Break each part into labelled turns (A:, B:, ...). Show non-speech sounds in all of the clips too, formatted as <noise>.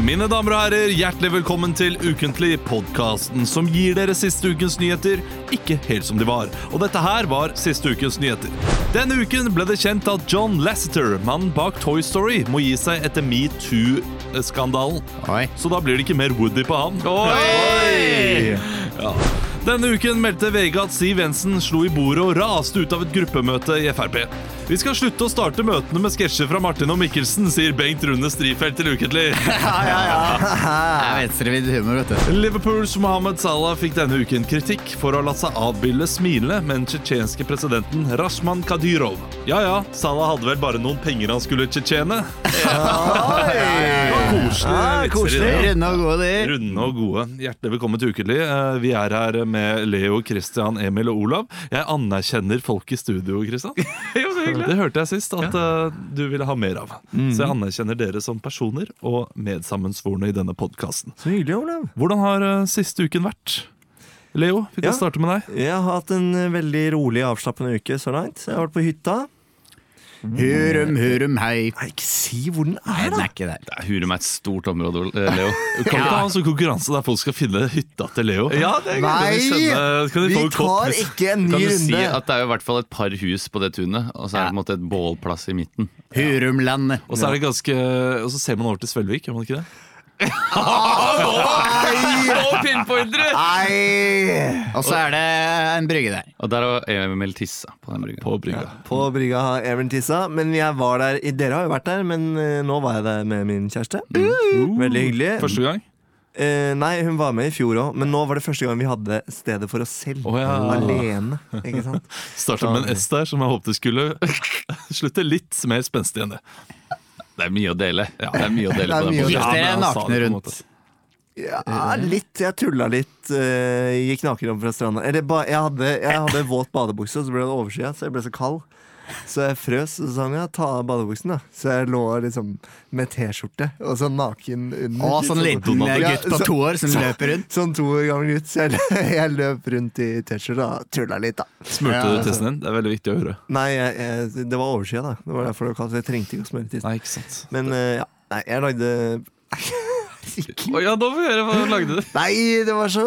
A: Mine damer og herrer, hjertelig velkommen til Ukentlig, podkasten som gir dere siste ukens nyheter ikke helt som de var. Og dette her var siste ukens nyheter. Denne uken ble det kjent at John Lasseter, mannen bak Toy Story, må gi seg etter metoo-skandalen.
B: Oi.
A: Så da blir det ikke mer Woody på han. Ja. Denne uken meldte VG at Siv Jensen slo i bordet og raste ut av et gruppemøte i Frp. Vi skal slutte å starte møtene med sketsjer fra Martin og Mikkelsen, sier Bengt Rune Strifeldt til Ukentlig.
B: Jeg vet venstrevidd humor, vet du.
A: Liverpools Mohammed Salah fikk denne uken kritikk for å ha latt seg avbilde smilende med den tsjetsjenske presidenten Rashman Kadyrov. Ja ja, Salah hadde vel bare noen penger han skulle tsjetsjene.
B: Ah,
A: Koselige vitser i det.
B: Runde og gode, de.
A: Runde og gode. Hjertelig velkommen til Ukelig. Eh, Vi er her med Leo, Christian, Emil og Olav. Jeg anerkjenner folk i studio, Christian. Det hørte jeg sist at eh, du ville ha mer av. Så jeg anerkjenner dere som personer og medsammensvorne i denne podkasten.
C: Så hyggelig, Olav.
A: Hvordan har eh, siste uken vært? Leo, vi kan
C: Ja.
A: starte med deg.
C: Jeg har hatt en eh, veldig rolig, avslappende uke så langt. Jeg har vært på hytta.
B: Hurum, hurum, hei.
C: Nei, ikke si hvor den
B: Nei,
C: er,
B: den
C: da!
B: er ikke der.
D: Hurum er et stort område, eh,
C: <laughs>
D: Leo.
A: Kan vi ikke ha en sånn konkurranse der folk skal finne hytta til Leo? Ja, det
B: er greit.
A: Kan de
C: Vi
A: få en kopp?
C: tar ikke en
D: Kan
C: ny
D: du si
C: runde.
D: at det er jo i hvert fall et par hus på det tunet, og så er det på en måte et bålplass i midten.
B: Hurumlandet.
A: Og så er det ganske Og så ser man over til Svelvik, gjør man ikke det?
C: Nei!
B: Og så er det en brygge der.
D: Og der har Emil tissa på den brygga.
A: På brygga.
C: På brygga har Even tissa, men jeg var der Dere har jo vært der, men eh, nå var jeg der med min kjæreste. Veldig hyggelig.
A: Uh. Første gang?
C: Eh, nei, hun var med i fjor òg, men nå var det første gang vi hadde stedet for oss selv.
A: Å, ja.
C: Alene. Ikke sant?
A: Startet med en S der som jeg håpte skulle <laughs> slutte litt mer spenstig enn det.
D: Det er mye å dele. Det er mye å
B: Det
D: dele
B: er
D: på
B: mye å
A: Ja,
D: den
B: justere
A: men han sa
B: nakne
A: det på en
B: rundt.
A: måte.
C: Ja,
B: Eh.
C: litt. Jeg tulla litt. eh, gikk naken opp fra stranda. Eller ba, jeg, hadde, jeg hadde våt badebukse, og så ble den overskyet, så jeg ble så kald. Så jeg frøs, og så sa han ja, ta av badebuksen, da. Så jeg lå liksom med T-skjorte og så naken under.
B: Og sånn liten eh,
C: Ja,
B: gutt på
C: så-
B: to år som løper rundt.
C: Sånn to år gammel gutt. Så jeg, <laughs> lø- jeg løp rundt i T-skjorte og tulla litt, da.
A: Smurte
B: Ja,
A: du tissen din? Det er veldig viktig å høre.
C: Nei, jeg, jeg, det var overskyet, da. Det var derfor det var kaldt. så Jeg trengte ikke å smøre tissen.
A: Nei, ikke sant.
C: Men eh, ja. Nei, jeg lagde Herregud.
A: ja, da får vi høre hva du lagde.
C: Nei, det var så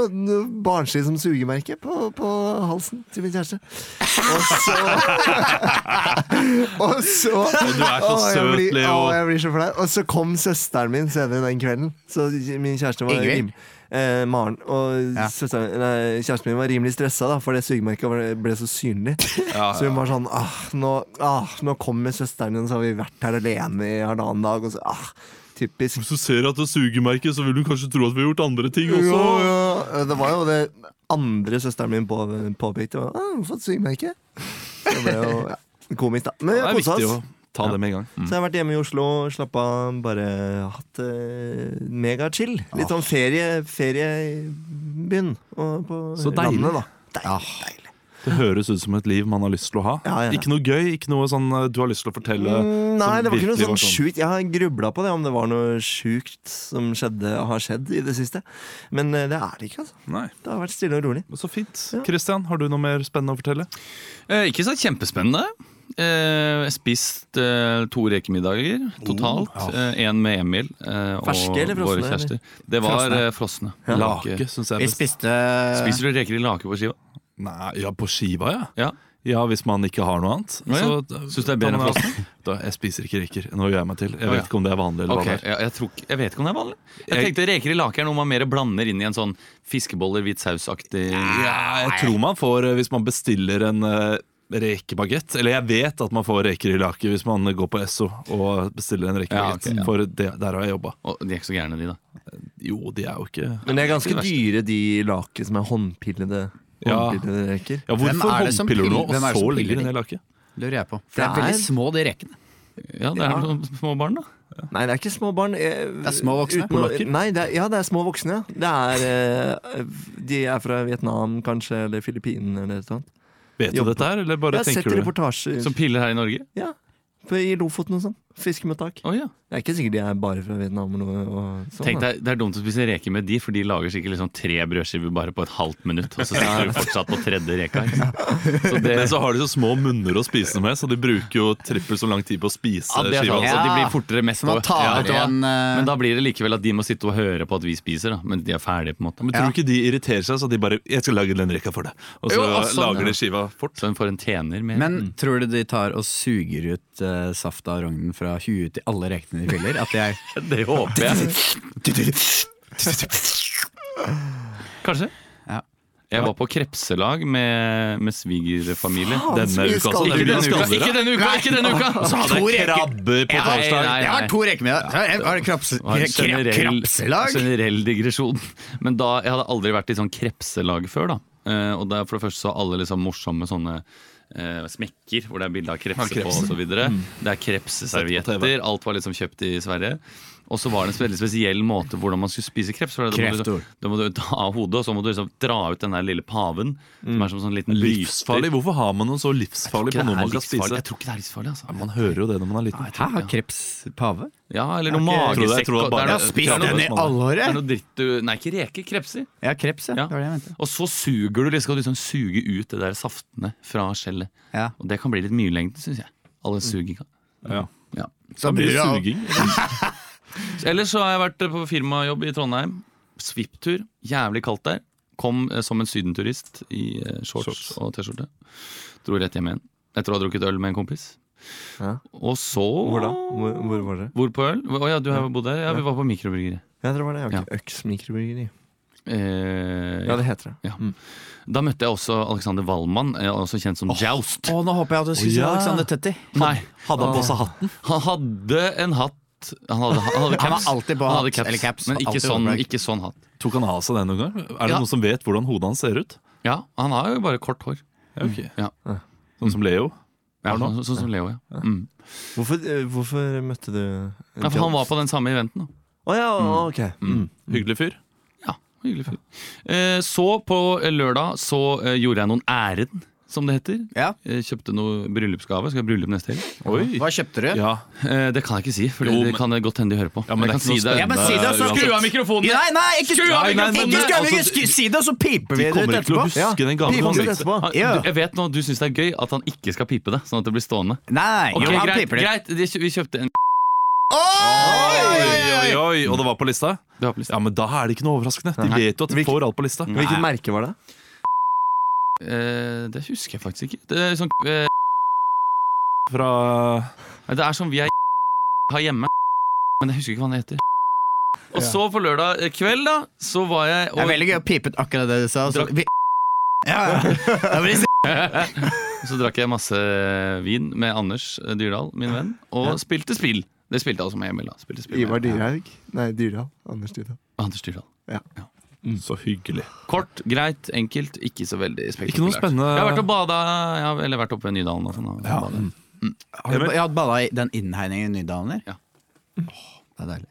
C: barnslig som sugemerke på, på halsen til min kjæreste. Og så <laughs> Og så
A: du er så
C: Å, jeg
A: søt,
C: blir-
A: Leo.
C: Å, jeg blir så flau. Og så kom søsteren min senere den kvelden. Så min kjæreste var
B: Ingvild?
C: rim, eh, Maren. Og
B: Ja.
C: søsteren, nei, kjæresten min var rimelig stressa, da, for det sugemerket var- ble så synlig. Så hun var sånn ah, nå, ah, nå kommer søsteren din, så har vi vært her alene i halvannen dag. Og så, ah, typisk.
A: Hvis du ser at det suger merket, så vil du kanskje tro at vi har gjort andre ting
C: Jo,
A: også.
C: jo. Det var jo det andre søsteren min på, påpekte. Var, ah, 'Fått sykemerke'. Det
A: <laughs>
C: ble jo ja, komisk, da.
A: Det
C: Men vi
A: er
C: har kosa
A: viktig å
C: oss.
A: mm. ta det med en gang.
C: Så jeg har vært hjemme i Oslo, slappa av, bare hatt eh, megachill. Litt sånn ferie, ferie i byen. Og på
A: Så deilig.
C: landet, da. Ah.
A: Det høres ut som et liv man har lyst til å ha.
C: Ja, ja, ja.
A: Ikke noe gøy, ikke noe sånn eh, du har lyst til å fortelle.
C: Mm,
A: som
C: Nei, det var ikke noe
A: virkelig
C: sånn sjukt. Jeg har grubla på det, om det var noe sjukt som skjedde, har skjedd i det siste. Men eh, det er det ikke, altså.
A: Nei,
C: Det har vært stille og rolig.
A: men Så fint.
C: Ja.
A: Christian, har du noe mer spennende å fortelle?
D: Eh, ikke så kjempespennende. Eh, spist eh, to rekemiddager totalt. Én eh, en med Emil eh,
C: Oh,
D: og
C: Ferske eller frosne,
D: våre kjærester. Det var eh, frosne. Eh,
A: Lake, syns jeg.
B: Vi
A: er best.
B: spiste
D: Spiser du reker i lake på skiva?
A: Nei, ja, på skiva, ja.
D: Ja.
A: Ja, hvis man ikke har noe annet.
D: Å, ja. Syns du det er bedre enn
A: frossen? Jeg spiser ikke reker. Nå gjør jeg meg til. Jeg
D: Å,
A: vet
D: ja.
A: ikke om det er vanlig eller
D: Ok,
A: hva det er.
D: ja, jeg, tror, ikke- jeg vet ikke om det er vanlig. Jeg
A: Jeg-
D: tenkte Reker i lake er noe man mer blander inn i en sånn fiskeboller, hvit saus-aktig
A: Ja, jeg tror man får, eh, hvis man bestiller en uh, rekebagett Eller jeg vet at man får reker i lake hvis man går på Esso og bestiller en rekebagett.
D: Ja, ok, ja.
A: For det, der har jeg jobba.
D: Og de er ikke så gærne, de, da.
A: Jo, de er jo ikke
C: Men det er ganske
D: Ikke verst.
C: dyre, de lakenes som er håndpillede.
D: Ja.
C: Vannpillereker.
D: Ja,
B: Hvem
D: hvorfor
B: er det som
D: håndpiller du nå,
B: piller- hvem er
D: og
B: det
D: så
B: som
D: legger du
B: piller
D: ned laket?
B: Det lurer jeg på. For det er
C: Det er-
B: veldig små, de rekene.
D: Ja, det er noen små barn, da.
C: Nei, det er ikke små barn. eh,
B: Det er små voksne.
D: Polakker?
C: nei, det er, ja, det er små voksne. ja. Det er, eh, de er fra Vietnam, kanskje, eller Filippinene eller noe sånt.
D: Vet du
C: Jobber.
D: dette her, eller bare
C: Jeg har sett
D: tenker du det?
C: reportasjer
D: Som piller her i Norge?
C: ja, på- i Lofoten og sånn. Fiskemottak.
D: Å ja.
C: Det er ikke sikkert de er bare fra Vietnam. Og, noe- og sånn,
D: Tenk
C: da.
D: deg, Det er dumt å spise reker med de, for de lager sikkert liksom tre brødskiver bare på et halvt minutt. Og så sitter du fortsatt på tredje reka. ikke sant? Så det,
A: Men så har de så små munner å spise med, så de bruker jo trippelt så lang tid på å spise
D: ja, det er
A: skiva.
D: sant. Så
B: Ja.
D: Altså, de blir fortere mest
B: Så man
D: over.
B: tar
D: Ja, vet du hva?
B: igjen, eh,
D: Men da blir det likevel at de må sitte og høre på at vi spiser, da. Men de er ferdige, på en måte.
A: Men tror du ikke de irriterer seg, så de bare 'Jeg skal lage den rekka for deg', og så
D: Jo, og sånn,
A: lager
D: ja.
A: de skiva fort.
D: Så en får en tjener med.
B: Men tror du de tar og suger ut uh, safta av rognen fra huet til alle rekene de piller? At <laughs> de er
D: <laughs> det håper jeg. Kanskje.
B: Ja.
D: Jeg var på krepselag med, med svigerfamilie denne
C: mye
D: uka. altså.
C: skall
D: Ikke
C: dere
D: denne
A: gjør.
D: uka! Ikke denne uka! Ikke denne uka.
A: Så hadde
B: To
A: jeg
B: reker.
A: krabbe på
D: Nei,
A: torsdag.
D: nei,
B: Jeg har to reker med deg. Jeg har krepse,
D: Det var en generell,
B: krepselag.
D: generell digresjon. Men da, jeg hadde aldri vært i sånn krepselag før. da Eh, Og der for det første så har alle liksom morsomme sånne eh, smekker hvor det er bilde av krepse,
A: Ja, krepse.
D: på og så videre Det er
A: Mm. Sett på TV.
D: krepseservietter. Alt var liksom kjøpt i Sverige. Og så var det en veldig spesiell måte hvordan man skulle spise kreps. for Da må du, liksom,
B: Kreftor.
D: da må du ta av hodet, og så må du liksom dra ut den der lille paven. Som er som sånn liten
A: Mm. Livsfarlig?
D: lyster.
A: Hvorfor har man noe så livsfarlig på
D: Ikke det
A: noe
D: er
A: man skal
D: livsfarlig.
A: spise?
D: Jeg tror ikke det er livsfarlig, altså.
A: Man hører jo det når man er liten.
B: Hæ, har kreps pave?
D: Ja, eller noe
A: Jeg tror det- jeg tror
D: magesekk.
A: det
D: og- det
A: bare-
D: er noe-
A: Jeg har
D: det
A: spist
D: er noe-
A: den i
B: alle
D: det er noe dritt du Nei, ikke reker. Krepser.
B: Ja, kreps, ja.
D: Ja.
B: Det var det jeg mente.
D: Og så suger du liksom, skal du liksom suge ut det der saftene fra skjellet.
B: Ja.
D: Og det kan bli litt mye i lengden, syns jeg. All den suginga.
A: Ja.
D: Ja.
A: Det er mye suging.
D: Ellers så har jeg vært på firmajobb i Trondheim. Svipptur. Jævlig kaldt der. Kom eh, som en sydenturist i eh, shorts,
A: Shorts.
D: og T-skjorte. Dro rett hjem igjen. Etter å ha drukket øl med en kompis.
C: Ja.
D: Og så
C: Hvor da? Hvor, hvor var det?
D: Hvor på øl? Å ja, du har jo bodd der? Ja, vi var på mikrobryggeri.
C: Ja, det var det. Jeg har ikke Øks mikrobryggeri.
D: Eh,
C: Ja, det heter det.
D: Da møtte jeg også Alexander Wallmann, eh, også kjent som Joust.
B: Å, nå håper jeg at du skulle si
A: Å, ja.
B: Alexander Tetti.
D: Nei,
A: Hadde han på
C: Ah.
A: seg hatten?
D: Han hadde en hatt. Han hadde, han
B: <laughs>
D: hadde
B: Han var
D: caps.
B: alltid på
D: Han
B: hatt,
D: hadde caps,
B: eller caps,
D: Men ikke
B: alltid
D: sånn,
B: overplagg.
D: ikke sånn hatt.
A: Tok han av seg den noen gang? Er det
D: Ja.
A: noen som vet hvordan hodet hans ser ut?
D: Ja, han har jo bare kort hår.
A: Ja, ok.
D: Ja.
A: Sånn som Leo?
D: Ja,
A: Har han
D: sånn, sånn som Leo, ja. Mm.
C: Hvorfor, eh, hvorfor møtte du
D: ja for han var på den samme eventen. Da.
C: Å ja, ok. Mm.
A: Hyggelig fyr.
D: Ja, hyggelig fyr. Eh, så på lørdag så eh, gjorde jeg noen ærend, som det heter.
B: Ja.
D: Eh, Kjøpte noe bryllupsgave. Skal jeg ha bryllup neste helg?
A: Oi.
B: Hva kjøpte du?
A: Ja.
D: Eh, det kan jeg ikke si, for
A: Jo,
D: det
A: men-
D: kan det godt hende de hører på.
A: Ja, men
D: jeg
A: det er
D: kan
A: ikke
D: si
A: noe
D: det.
A: spennende.
B: Ja, men si det, og så
A: Uansett.
D: Skru av mikrofonen!
B: Nei, nei, ikke skru av
A: Nei, nei,
B: mikrofonen! Ikke
A: men-
B: skru av
A: altså,
B: mikrofonen! Skru- Si det, og så piper vi
A: De
B: det ut
A: kommer ikke til å
B: etterpå.
C: Ja,
A: huske den
C: pipe
A: gaven.
C: ut
A: ansiktet.
C: etterpå.
D: Han,
B: Ja.
D: du, jeg vet nå at du syns det er gøy at han ikke skal pipe det, sånn at det blir stående.
B: Nei,
D: Ok,
B: jo, han
D: greit,
B: piper det.
D: greit, de kjø- vi kjøpte en
A: Oi,
B: Oi!
A: oi, oi. Og det var på lista?
D: Det var på lista.
A: Ja, men Da er det ikke noe overraskende. De
D: Nei.
A: vet jo at de
C: Hvilken-
A: får alt på lista.
C: Hvilket merke var det?
D: Eh, det husker jeg faktisk ikke. Det er, sånn, eh,
A: Fra
D: det er som vi er <laughs> har hjemme, men jeg husker ikke hva han heter. Og
C: Ja.
D: så på lørdag eh, kveld, da, så var jeg
B: Det er veldig gøy å pipe ut akkurat det du sa. og Så, vi, ja, ja. <laughs> Da blir det-
D: <laughs> Så drakk jeg masse eh, vin med Anders eh, Dyrdal, min venn, og spilte spill. Det spilte jeg også med Emil. da spilte spill med
C: Ivar
D: Emil.
C: Dyrhaug? Nei, Dyrhaug. Anders Dyrhaug.
D: Ja, Anders Dyrdal.
A: Så hyggelig.
D: Kort, greit, enkelt, ikke så veldig spektakulært.
A: Ikke noe spennende-
D: Jeg har vært og bada, jeg har, eller vært oppe ved Nydalen. Og sånn, og badet.
B: Har du- Jeg har balla i den innhegningen i Nydalen der.
D: Ja.
B: Åh, det er deilig.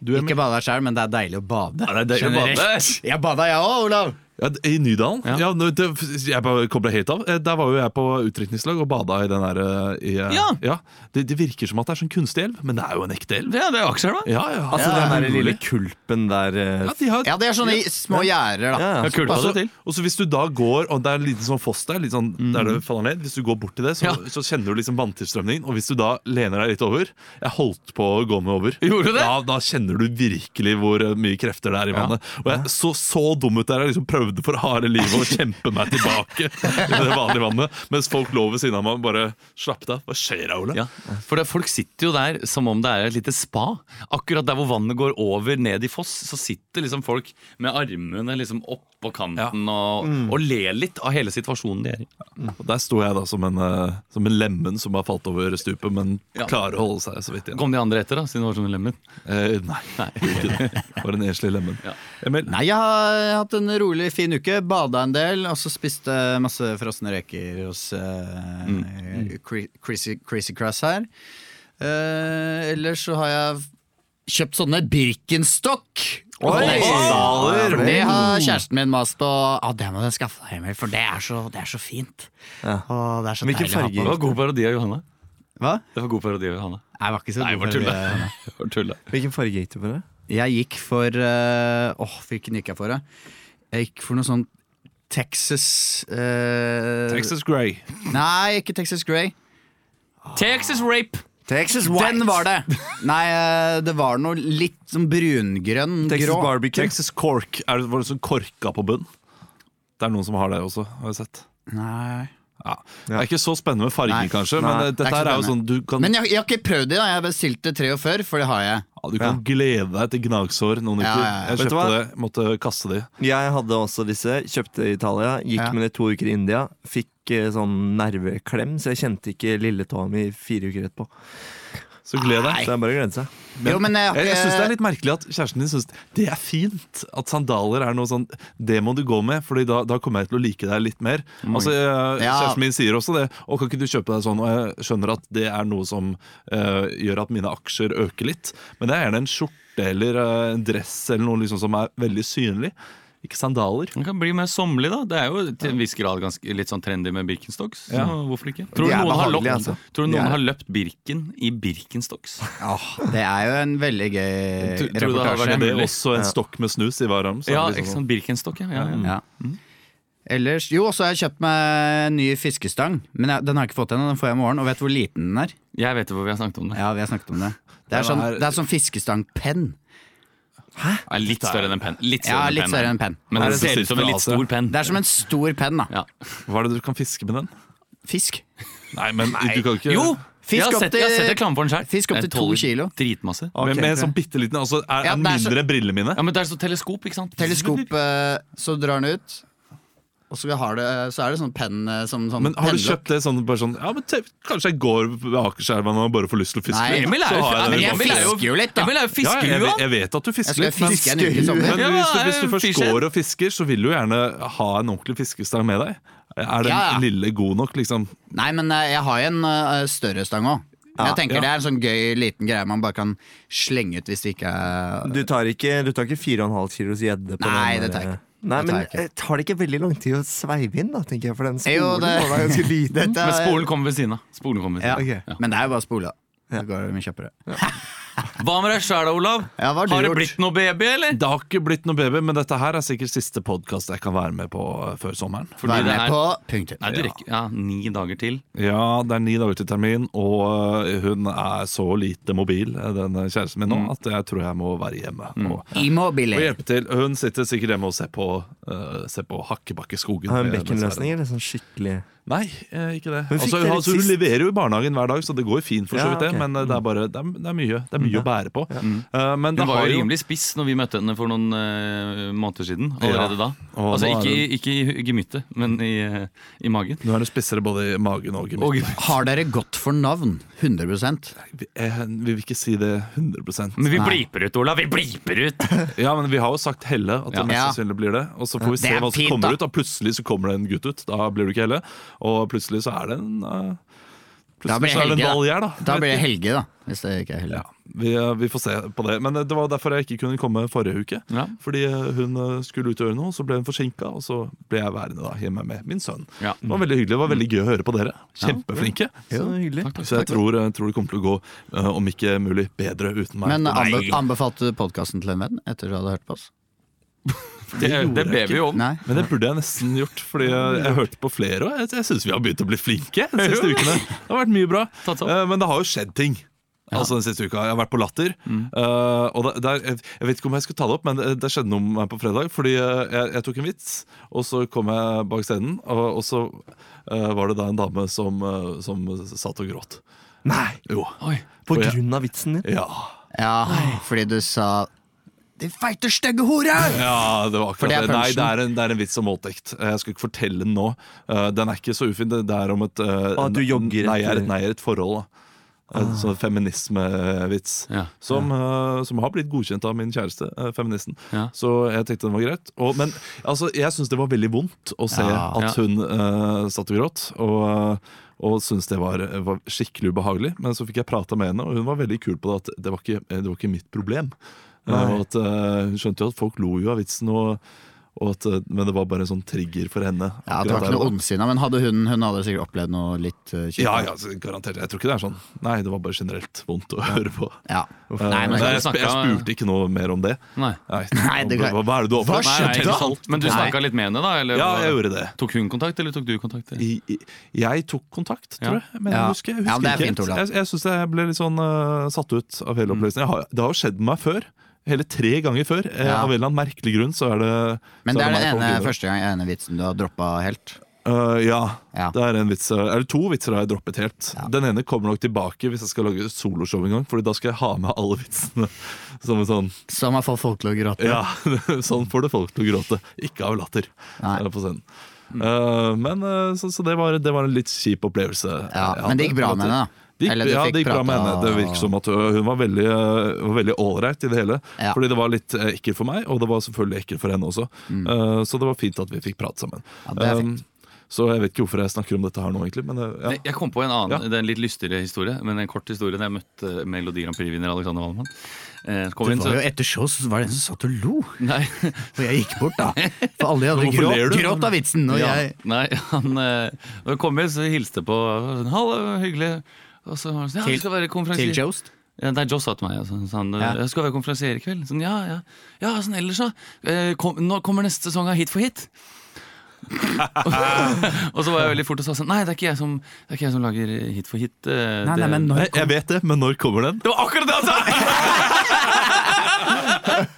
A: Du, Emil?
B: Ikke bada sjøl, men det er deilig å bade.
A: Ja, det er deilig å bade.
B: Generelt. Jeg bada, jeg òg, Olav.
A: Ja, d- I Nydalen?
D: Ja.
A: Ja. nå, det, jeg bare kobla helt av. Eh, Der var jo jeg på utdrikningslag og bada i den der eh, i, eh,
D: Ja.
A: det, det virker som at det er sånn kunstig elv, men det er jo en ekte elv.
D: Ja, det er Akerselva.
A: Ja, ja.
C: Altså
A: ja,
C: den der lille kulpen der eh,
A: ja, de har,
B: Ja, det er sånne små gjerder, da.
C: Ja,
D: Ja, kult,
A: Altså,
D: det til. Mhm.
A: og så hvis du da går Og det er en liten sånn foss der, litt sånn, der det faller ned Hvis du går bort til det, så,
D: Ja.
A: så kjenner du liksom vanntilstrømningen. Og hvis du da lener deg litt over Jeg holdt på å gå meg over.
D: Gjorde du det?
A: Ja, Da kjenner du virkelig hvor eh, mye krefter det er i
D: Ja.
A: vannet. Og jeg så så dum ut der. Jeg liksom prøvde for harde livet å kjempe meg
D: <laughs>
A: tilbake i det vanlige vannet. Mens folk lå ved siden av meg og bare slapp av. Hva skjer da, Ole?
D: Ja, for det, Folk sitter jo der som om det er et lite spa. Akkurat der hvor vannet går over ned i foss, så sitter liksom folk med armene liksom opp på kanten og, og le litt av hele situasjonen de er i.
A: Mm. Og der sto jeg da som en, eh, som en lemmen som har falt over stupet, men
D: Ja.
A: klarer å holde seg så vidt igjen.
D: Kom de andre etter, da, siden det var sånne lemmer?
A: Eh, nei, gjorde <laughs> ikke det. Bare en enslig lemmen.
D: Ja.
A: Emil,
B: Nei, jeg har hatt en rolig, fin uke. Bada en del, og så spiste masse frosne reker hos eh, Cri- Crazy Crazy Crass her. Eh, ellers så har jeg kjøpt sånne Birkenstock.
A: Oi!
C: Sandaler!
B: For det har kjæresten min mast på. Ja, det må du skaffe deg, Emil, for det er så, det er så fint.
C: Ja.
B: Og det er så
C: Hvilken
B: deilig å ha
C: farge?
D: Det
B: på.
D: var god parodi av Johanne.
B: Hva?
D: Det var god parodi av Johanne.
B: Jeg var ikke så
D: Nei, jeg
B: god
D: bare
B: for det.
D: tuller. Jeg bare tuller.
C: Hvilken farge gikk du på det?
B: Jeg gikk for eh, Åh, hvilken gikk jeg for? da? Jeg gikk for noe sånn Texas eh,
A: Texas Grey.
B: Nei, ikke Texas Grey.
D: Texas rape!
C: Texas
B: Den var det! Nei, eh, det var noe litt sånn brungrønn
C: Texas
B: grå.
C: barbecue.
A: Texas Cork. Er det, var det sånn korka på bunn? Det er noen som har det også, har jeg sett.
B: Nei.
A: Ja. Det er ikke så spennende med farger,
B: Nei.
A: kanskje, men
B: Nei,
A: eh,
B: det er
A: dette
B: ikke
A: her er jo
B: spennende.
A: sånn du kan,
B: Men jeg, jeg har ikke prøvd det. da Jeg bestilte 43, for det har jeg.
A: ja, du kan glede deg til gnagsår noen uker.
B: Ja, ja, ja.
A: Jeg
C: Vet du
A: kjøpte det,
C: hva?
A: måtte kaste de.
C: Jeg hadde også disse, kjøpte i Italia, gikk
B: Ja.
C: med det to uker i India. Fikk eh, sånn nerveklem, så jeg kjente ikke lilletåa mi fire uker etterpå.
A: Så gled
C: Så
A: deg.
C: det er bare å glede seg.
B: jo, men jeg har
A: Jeg, jeg syns det er
B: ikke
A: litt merkelig at kjæresten din syns det er fint at sandaler er noe sånn Det må du gå med, Fordi da, da kommer jeg til å like deg litt mer. Altså, eh,
B: Ja.
A: Kjæresten min sier også det. Og kan ikke du kjøpe deg sånn? Og jeg skjønner at det er noe som eh, gjør at mine aksjer øker litt. Men det er gjerne en skjorte eller eh, en dress eller noe liksom som er veldig synlig. Ikke sandaler.
D: Den kan bli mer sommerlig, da. Det er jo til en viss grad ganske, litt sånn trendy med Birkenstocks. Så
A: Ja.
D: hvorfor ikke? Tror
C: De
D: du
C: er
D: noen, har,
C: behagelige,
D: løpt,
C: altså.
D: tror du
C: De
D: noen
C: er-
D: har løpt Birken i Birkenstocks?
B: Åh, Det er jo en veldig gøy
D: Tror- tror du det har vært
B: reportasje.
A: Er det
D: mulig?
A: også en stokk med snus i hver arm? så er
D: Ja,
A: det
D: ikke
A: liksom sånn-
D: sant. Birkenstock, ja. ja, ja.
B: Mm. Ja. Ellers, jo, så har jeg kjøpt meg en ny fiskestang. Men jeg, den har jeg ikke fått ennå, den får jeg i morgen. Og vet du hvor liten den er?
D: Jeg vet jo hvor vi har snakket om det.
B: Ja, vi har snakket om det. Det
A: Den
B: er sånn,
A: er-
B: det er sånn fiskestangpenn.
D: Er litt større enn en penn. Litt større
B: Ja,
D: enn
B: litt
D: en
B: større enn en
D: penn.
B: penn.
D: Men
A: Er
D: det
A: det så
D: ser ut som en
A: sykt
D: litt
A: bra, altså?
D: stor penn.
B: Det er som en stor penn, da.
D: Ja.
A: Hva er det du kan fiske med den?
B: Fisk.
A: Nei, men du kan ikke
D: Jo!
B: Fisk
D: jeg har
B: opp
D: sett, jeg har
B: til-
D: sett reklame for den selv.
B: fisk opp
D: Den
B: til to
D: tåler
B: kilo.
D: Dritmasse.
C: Ok.
A: Med, med en sånn bitte liten altså, Er
B: Ja,
A: er den
B: det er så-
A: mindre enn brillene mine?
D: Ja, men det er sånn teleskop, ikke sant?
B: Teleskop, <laughs> eh, så drar den ut. Og så, har det, så er det sånn penn eh, som sånn
A: Men har du
B: penndokk.
A: kjøpt det sånn, bare sånn Ja, men te, kanskje jeg går ved Akerselva nå og bare får lyst til å fiske?
B: Nei,
A: litt,
D: Emil er
A: så
D: jo,
A: har jeg
D: ja,
A: den
D: men
A: i
D: Emil er jo,
B: fisker jo litt, da.
D: Emil er jo
A: Ja, jeg,
D: fiskerua.
A: vet- jeg vet at du
B: Jeg
A: fisker
B: skal
A: litt.
B: fiske en uke i sommer. eh,
A: Men
D: Ja,
A: hvis, du,
D: jeg er
A: hvis du
D: en
A: først
D: fisher.
A: går og fisker, så vil du gjerne ha en ordentlig fiskestang med deg. Er den
B: Ja, ja.
A: lille god nok, liksom?
B: Nei, men eh, jeg har jo en eh, større stang òg. Men jeg tenker
A: ja.
B: det er en sånn gøy liten greie man bare kan slenge ut hvis det ikke er
C: Du tar ikke, du tar ikke 4,5 kilos gjedde på
B: Nei, det
C: den?
B: tar jeg
C: der-
B: ikke.
C: Nei,
B: Det
C: men
B: tar jeg ikke.
C: eh, tar det ikke veldig lang tid å sveive inn, da, tenker jeg, for den spolen
B: Jo,
C: må
B: det-
C: være ganske
B: <laughs>
C: liten.
B: Dette
D: Men
B: er-
D: spolen kommer ved siden av. Spolen kommer ved
B: ja.
D: siden av. Ja.
B: Men det er jo bare spola. Det går jo mye kjappere.
D: Hva med deg sjæl, Olav?
B: Ja, hva har du
D: har det
B: gjort?
D: blitt noe baby, eller?
A: Det har ikke blitt noe baby, men dette her er sikkert siste podkast jeg kan være med på eh, før sommeren.
D: Fordi
B: Vær
D: det
B: med
D: er-
B: på punktet.
D: Nei, du rekker ja, ni dager til.
A: Ja, det er ni dager til termin, og eh, hun er så lite mobil, eh, denne kjæresten min nå,
B: Mm.
A: at jeg tror jeg må være hjemme. Og, og
B: Immobile.
A: hjelpe til. Hun sitter sikkert hjemme og ser på, uh, ser på Hakkebakkeskogen.
C: Har hun
A: eh, mens jeg er-
C: bekkenløsninger? eller Sånn skikkelig
A: Nei, eh, ikke det.
C: Hun fikk
A: altså,
C: det
A: hun,
C: litt
A: altså, hun
C: sist.
A: leverer jo i barnehagen hver dag, så det går fint, for så
C: Ja,
A: vidt det.
C: ok. Mm.
A: Men eh, det er bare Det er, det er mye Det er mye å bære på. Eh, men det
D: Hun var
A: har
D: jo rimelig spiss når vi møtte henne for noen eh, måneder siden.
A: Ja.
D: Allerede da.
A: Og
D: Altså
A: nå er
D: ikke, i- ikke i gemyttet, men i, eh, i magen.
A: Nå er det spissere både i magen og
D: Og
A: gemyttet.
B: Har dere gått for navn? 100
A: Vi, eh, vi vil ikke si det 100
D: Men vi
B: Nei.
D: bliper ut, Olav! Vi bliper ut!
A: Ja, men vi har jo sagt Helle, at det
D: Ja.
A: mest
B: Ja.
A: sannsynlig blir det. Og så får vi
B: Det
A: se
B: er
A: hva som
B: fint,
A: kommer
B: da.
A: ut. Da plutselig så kommer det en gutt ut. Da blir du ikke Helle. Og plutselig så er det en eh,
B: Da
A: Plutselig
B: blir
A: så er det
B: Helge,
A: en
B: da.
A: valgjær, da.
B: Da blir det Helge, da. Hvis det ikke er Helge.
A: Ja, vi, eh, vi får se på det. Men eh, det var derfor jeg ikke kunne komme forrige uke.
D: Ja.
A: Fordi eh, hun eh, skulle ut og gjøre noe, så ble hun forsinka, og så ble jeg værende da hjemme med min sønn.
D: Ja.
A: Det var veldig hyggelig, det var veldig gøy å høre på dere. Kjempeflinke.
C: Så hyggelig.
A: Så jeg tror, jeg tror det kommer til å gå, eh, om ikke mulig, bedre uten meg.
B: Men anbe
D: Nei.
B: anbefalte du podkasten til en venn etter du hadde hørt på oss?
D: Det, det ber vi jo om.
B: Nei.
A: Men det burde jeg nesten gjort, fordi jeg, jeg hørte på flere. Og jeg, jeg syns vi har begynt å bli flinke de siste ukene. Det har vært mye bra.
D: Tatt opp.
A: Eh, Men det har jo skjedd ting. Altså den siste uka, Jeg har vært på Latter.
D: Mm.
A: eh, og det, det er, jeg, jeg vet ikke om jeg skulle ta det opp, men det, det skjedde noe med meg på fredag. Fordi eh, jeg, jeg tok en vits, og så kom jeg bak scenen, og, og så eh, var det da en dame som, eh, som satt og gråt.
C: Nei!
A: Jo.
D: Oi.
C: På
A: Og jeg-
C: grunn av vitsen din?
A: Ja.
B: Ja, fordi du sa 'Din feite, stygge hore!'
A: Ja, det var
B: For
A: akkurat
B: det er
A: det. Nei,
B: punchen.
A: det er, en, det er en vits om voldtekt. Eh, Jeg skal ikke fortelle den nå. Eh, Den er ikke så ufin. Det det er om et eh,
C: At du jogger
A: Nei, er
C: etter-
A: et, nei er et forhold. da
B: Ah.
A: En sånn feminismevits.
D: Ja.
A: Som, eh, som har blitt godkjent av min kjæreste, eh, feministen.
D: Ja.
A: Så jeg tenkte den var greit. Og, men altså, jeg syns det var veldig vondt å se
B: Ja.
A: at
D: Ja.
A: hun eh, satt og gråt. Og, eh, og syntes det var, eh, var skikkelig ubehagelig. Men så fikk jeg prata med henne, og hun var veldig kul på det at det var ikke, det var ikke mitt problem. Eh,
C: Nei.
A: Og at, eh, hun skjønte jo at folk lo jo av vitsen, og, og at, eh, men det var bare en sånn trigger for henne.
B: Ja, det var ikke
A: akkurat der og
B: noe
A: da.
B: ondsinna, men hadde hun, hun hadde sikkert opplevd noe litt eh, kjipt.
A: Ja, ja, så garantert. Jeg tror ikke det er sånn. Nei, det var bare generelt vondt å høre på.
B: Ja.
A: Eh,
B: Nei, men,
A: jeg,
D: Du snakket-
A: jeg spurte ikke noe mer om det.
D: Nei.
A: Nei,
B: <laughs> Nei, det kan-
A: hva, hva er det du har
B: Hva
A: opplevd?
D: Nei,
B: skjedde?
D: nei, ikke sant. Men du
B: Nei.
D: snakka litt med henne, da? Eller,
A: Ja, jeg gjorde det.
D: Tok hun kontakt, eller tok du kontakt? eller?
A: I, i- jeg tok kontakt,
D: Ja.
A: tror jeg. Men
B: Ja.
A: jeg husker, jeg husker
B: Ja, men det er fint,
A: ikke helt.
B: Olav. Mm.
A: Jeg, jeg syns jeg ble litt sånn eh, satt ut av hele opplevelsen. Jeg har, det har jo skjedd meg før. Hele tre ganger før. Eh,
B: Ja.
A: Av en eller annen merkelig grunn så er det
B: men
A: så
B: det er
A: meg
B: den
A: folk
B: ene,
A: driver.
B: første gang, ene vitsen du har droppa helt.
A: Eh, ja.
B: Ja.
A: Det er en vits, eh, eller to vitser har jeg droppet helt. Den ene kommer nok tilbake hvis jeg skal lage soloshow en gang, Fordi da skal jeg ha med alle vitsene. <laughs> Som en sånn
B: Som har fått folk til å gråte.
A: Ja, sånn får <laughs> det folk til å gråte. Ikke av latter.
B: Nei. Mm.
A: eh, På scenen. Eh, men eh, så, så det, var, det var en litt kjip opplevelse.
B: Ja,
A: jeg
B: men det
A: hadde.
B: gikk bra med henne, da?
A: Det gikk,
B: Eller du
A: ja,
B: fikk
A: det gikk bra
B: prata
A: med henne. Det
B: og-
A: virket som at øh, hun var veldig eh, var veldig ålreit i det hele.
B: Ja.
A: Fordi det var litt eh, ekkelt for meg, og det var selvfølgelig ekkelt for henne også. Eh, så det var fint at vi fikk prate sammen.
B: Mm. Ja, det er
A: Um, så jeg vet ikke hvorfor jeg snakker om dette her nå, egentlig. Men, eh, ja.
D: Nei, Jeg kom på en annen,
A: Ja.
D: det er en litt lystigere historie, men en kort historie. Da jeg møtte eh, Melodi Grand Prix-vinner Alexander Wallmann. Eh, så kommer
B: Det
D: hun, så,
B: var jo etter show så var det en som satt og lo,
D: nei,
B: og jeg gikk bort,
A: <laughs>
B: da. For alle de andre
A: Hvorfor ler
B: gråt,
A: du?
B: gråt av vitsen. Og
D: ja,
B: jeg
D: nei, han eh, når jeg kom inn, så hilste jeg på. og Sånn, Hallo, hyggelig. Og så var han sånn, ja,
B: Til-
D: du skal være
B: Til
D: konferansier.
B: Jost.
D: Ja, nei, Joss sa til meg. Altså, sånn,
B: Ja.
D: Jeg skal være konferansier i kveld. Sånn, ja, ja. ja sånn, ellers, da. Eh, kom, nå kommer neste sesong av Hit for hit. <laughs> og så var jeg veldig fort og sa sånn Nei, det er ikke jeg som, det er ikke jeg som lager Hit for hit. eh,
B: Nei,
D: det-
B: nei, men når
A: Nei, jeg vet det, men når kommer den?
D: Det var akkurat det han sa! <laughs>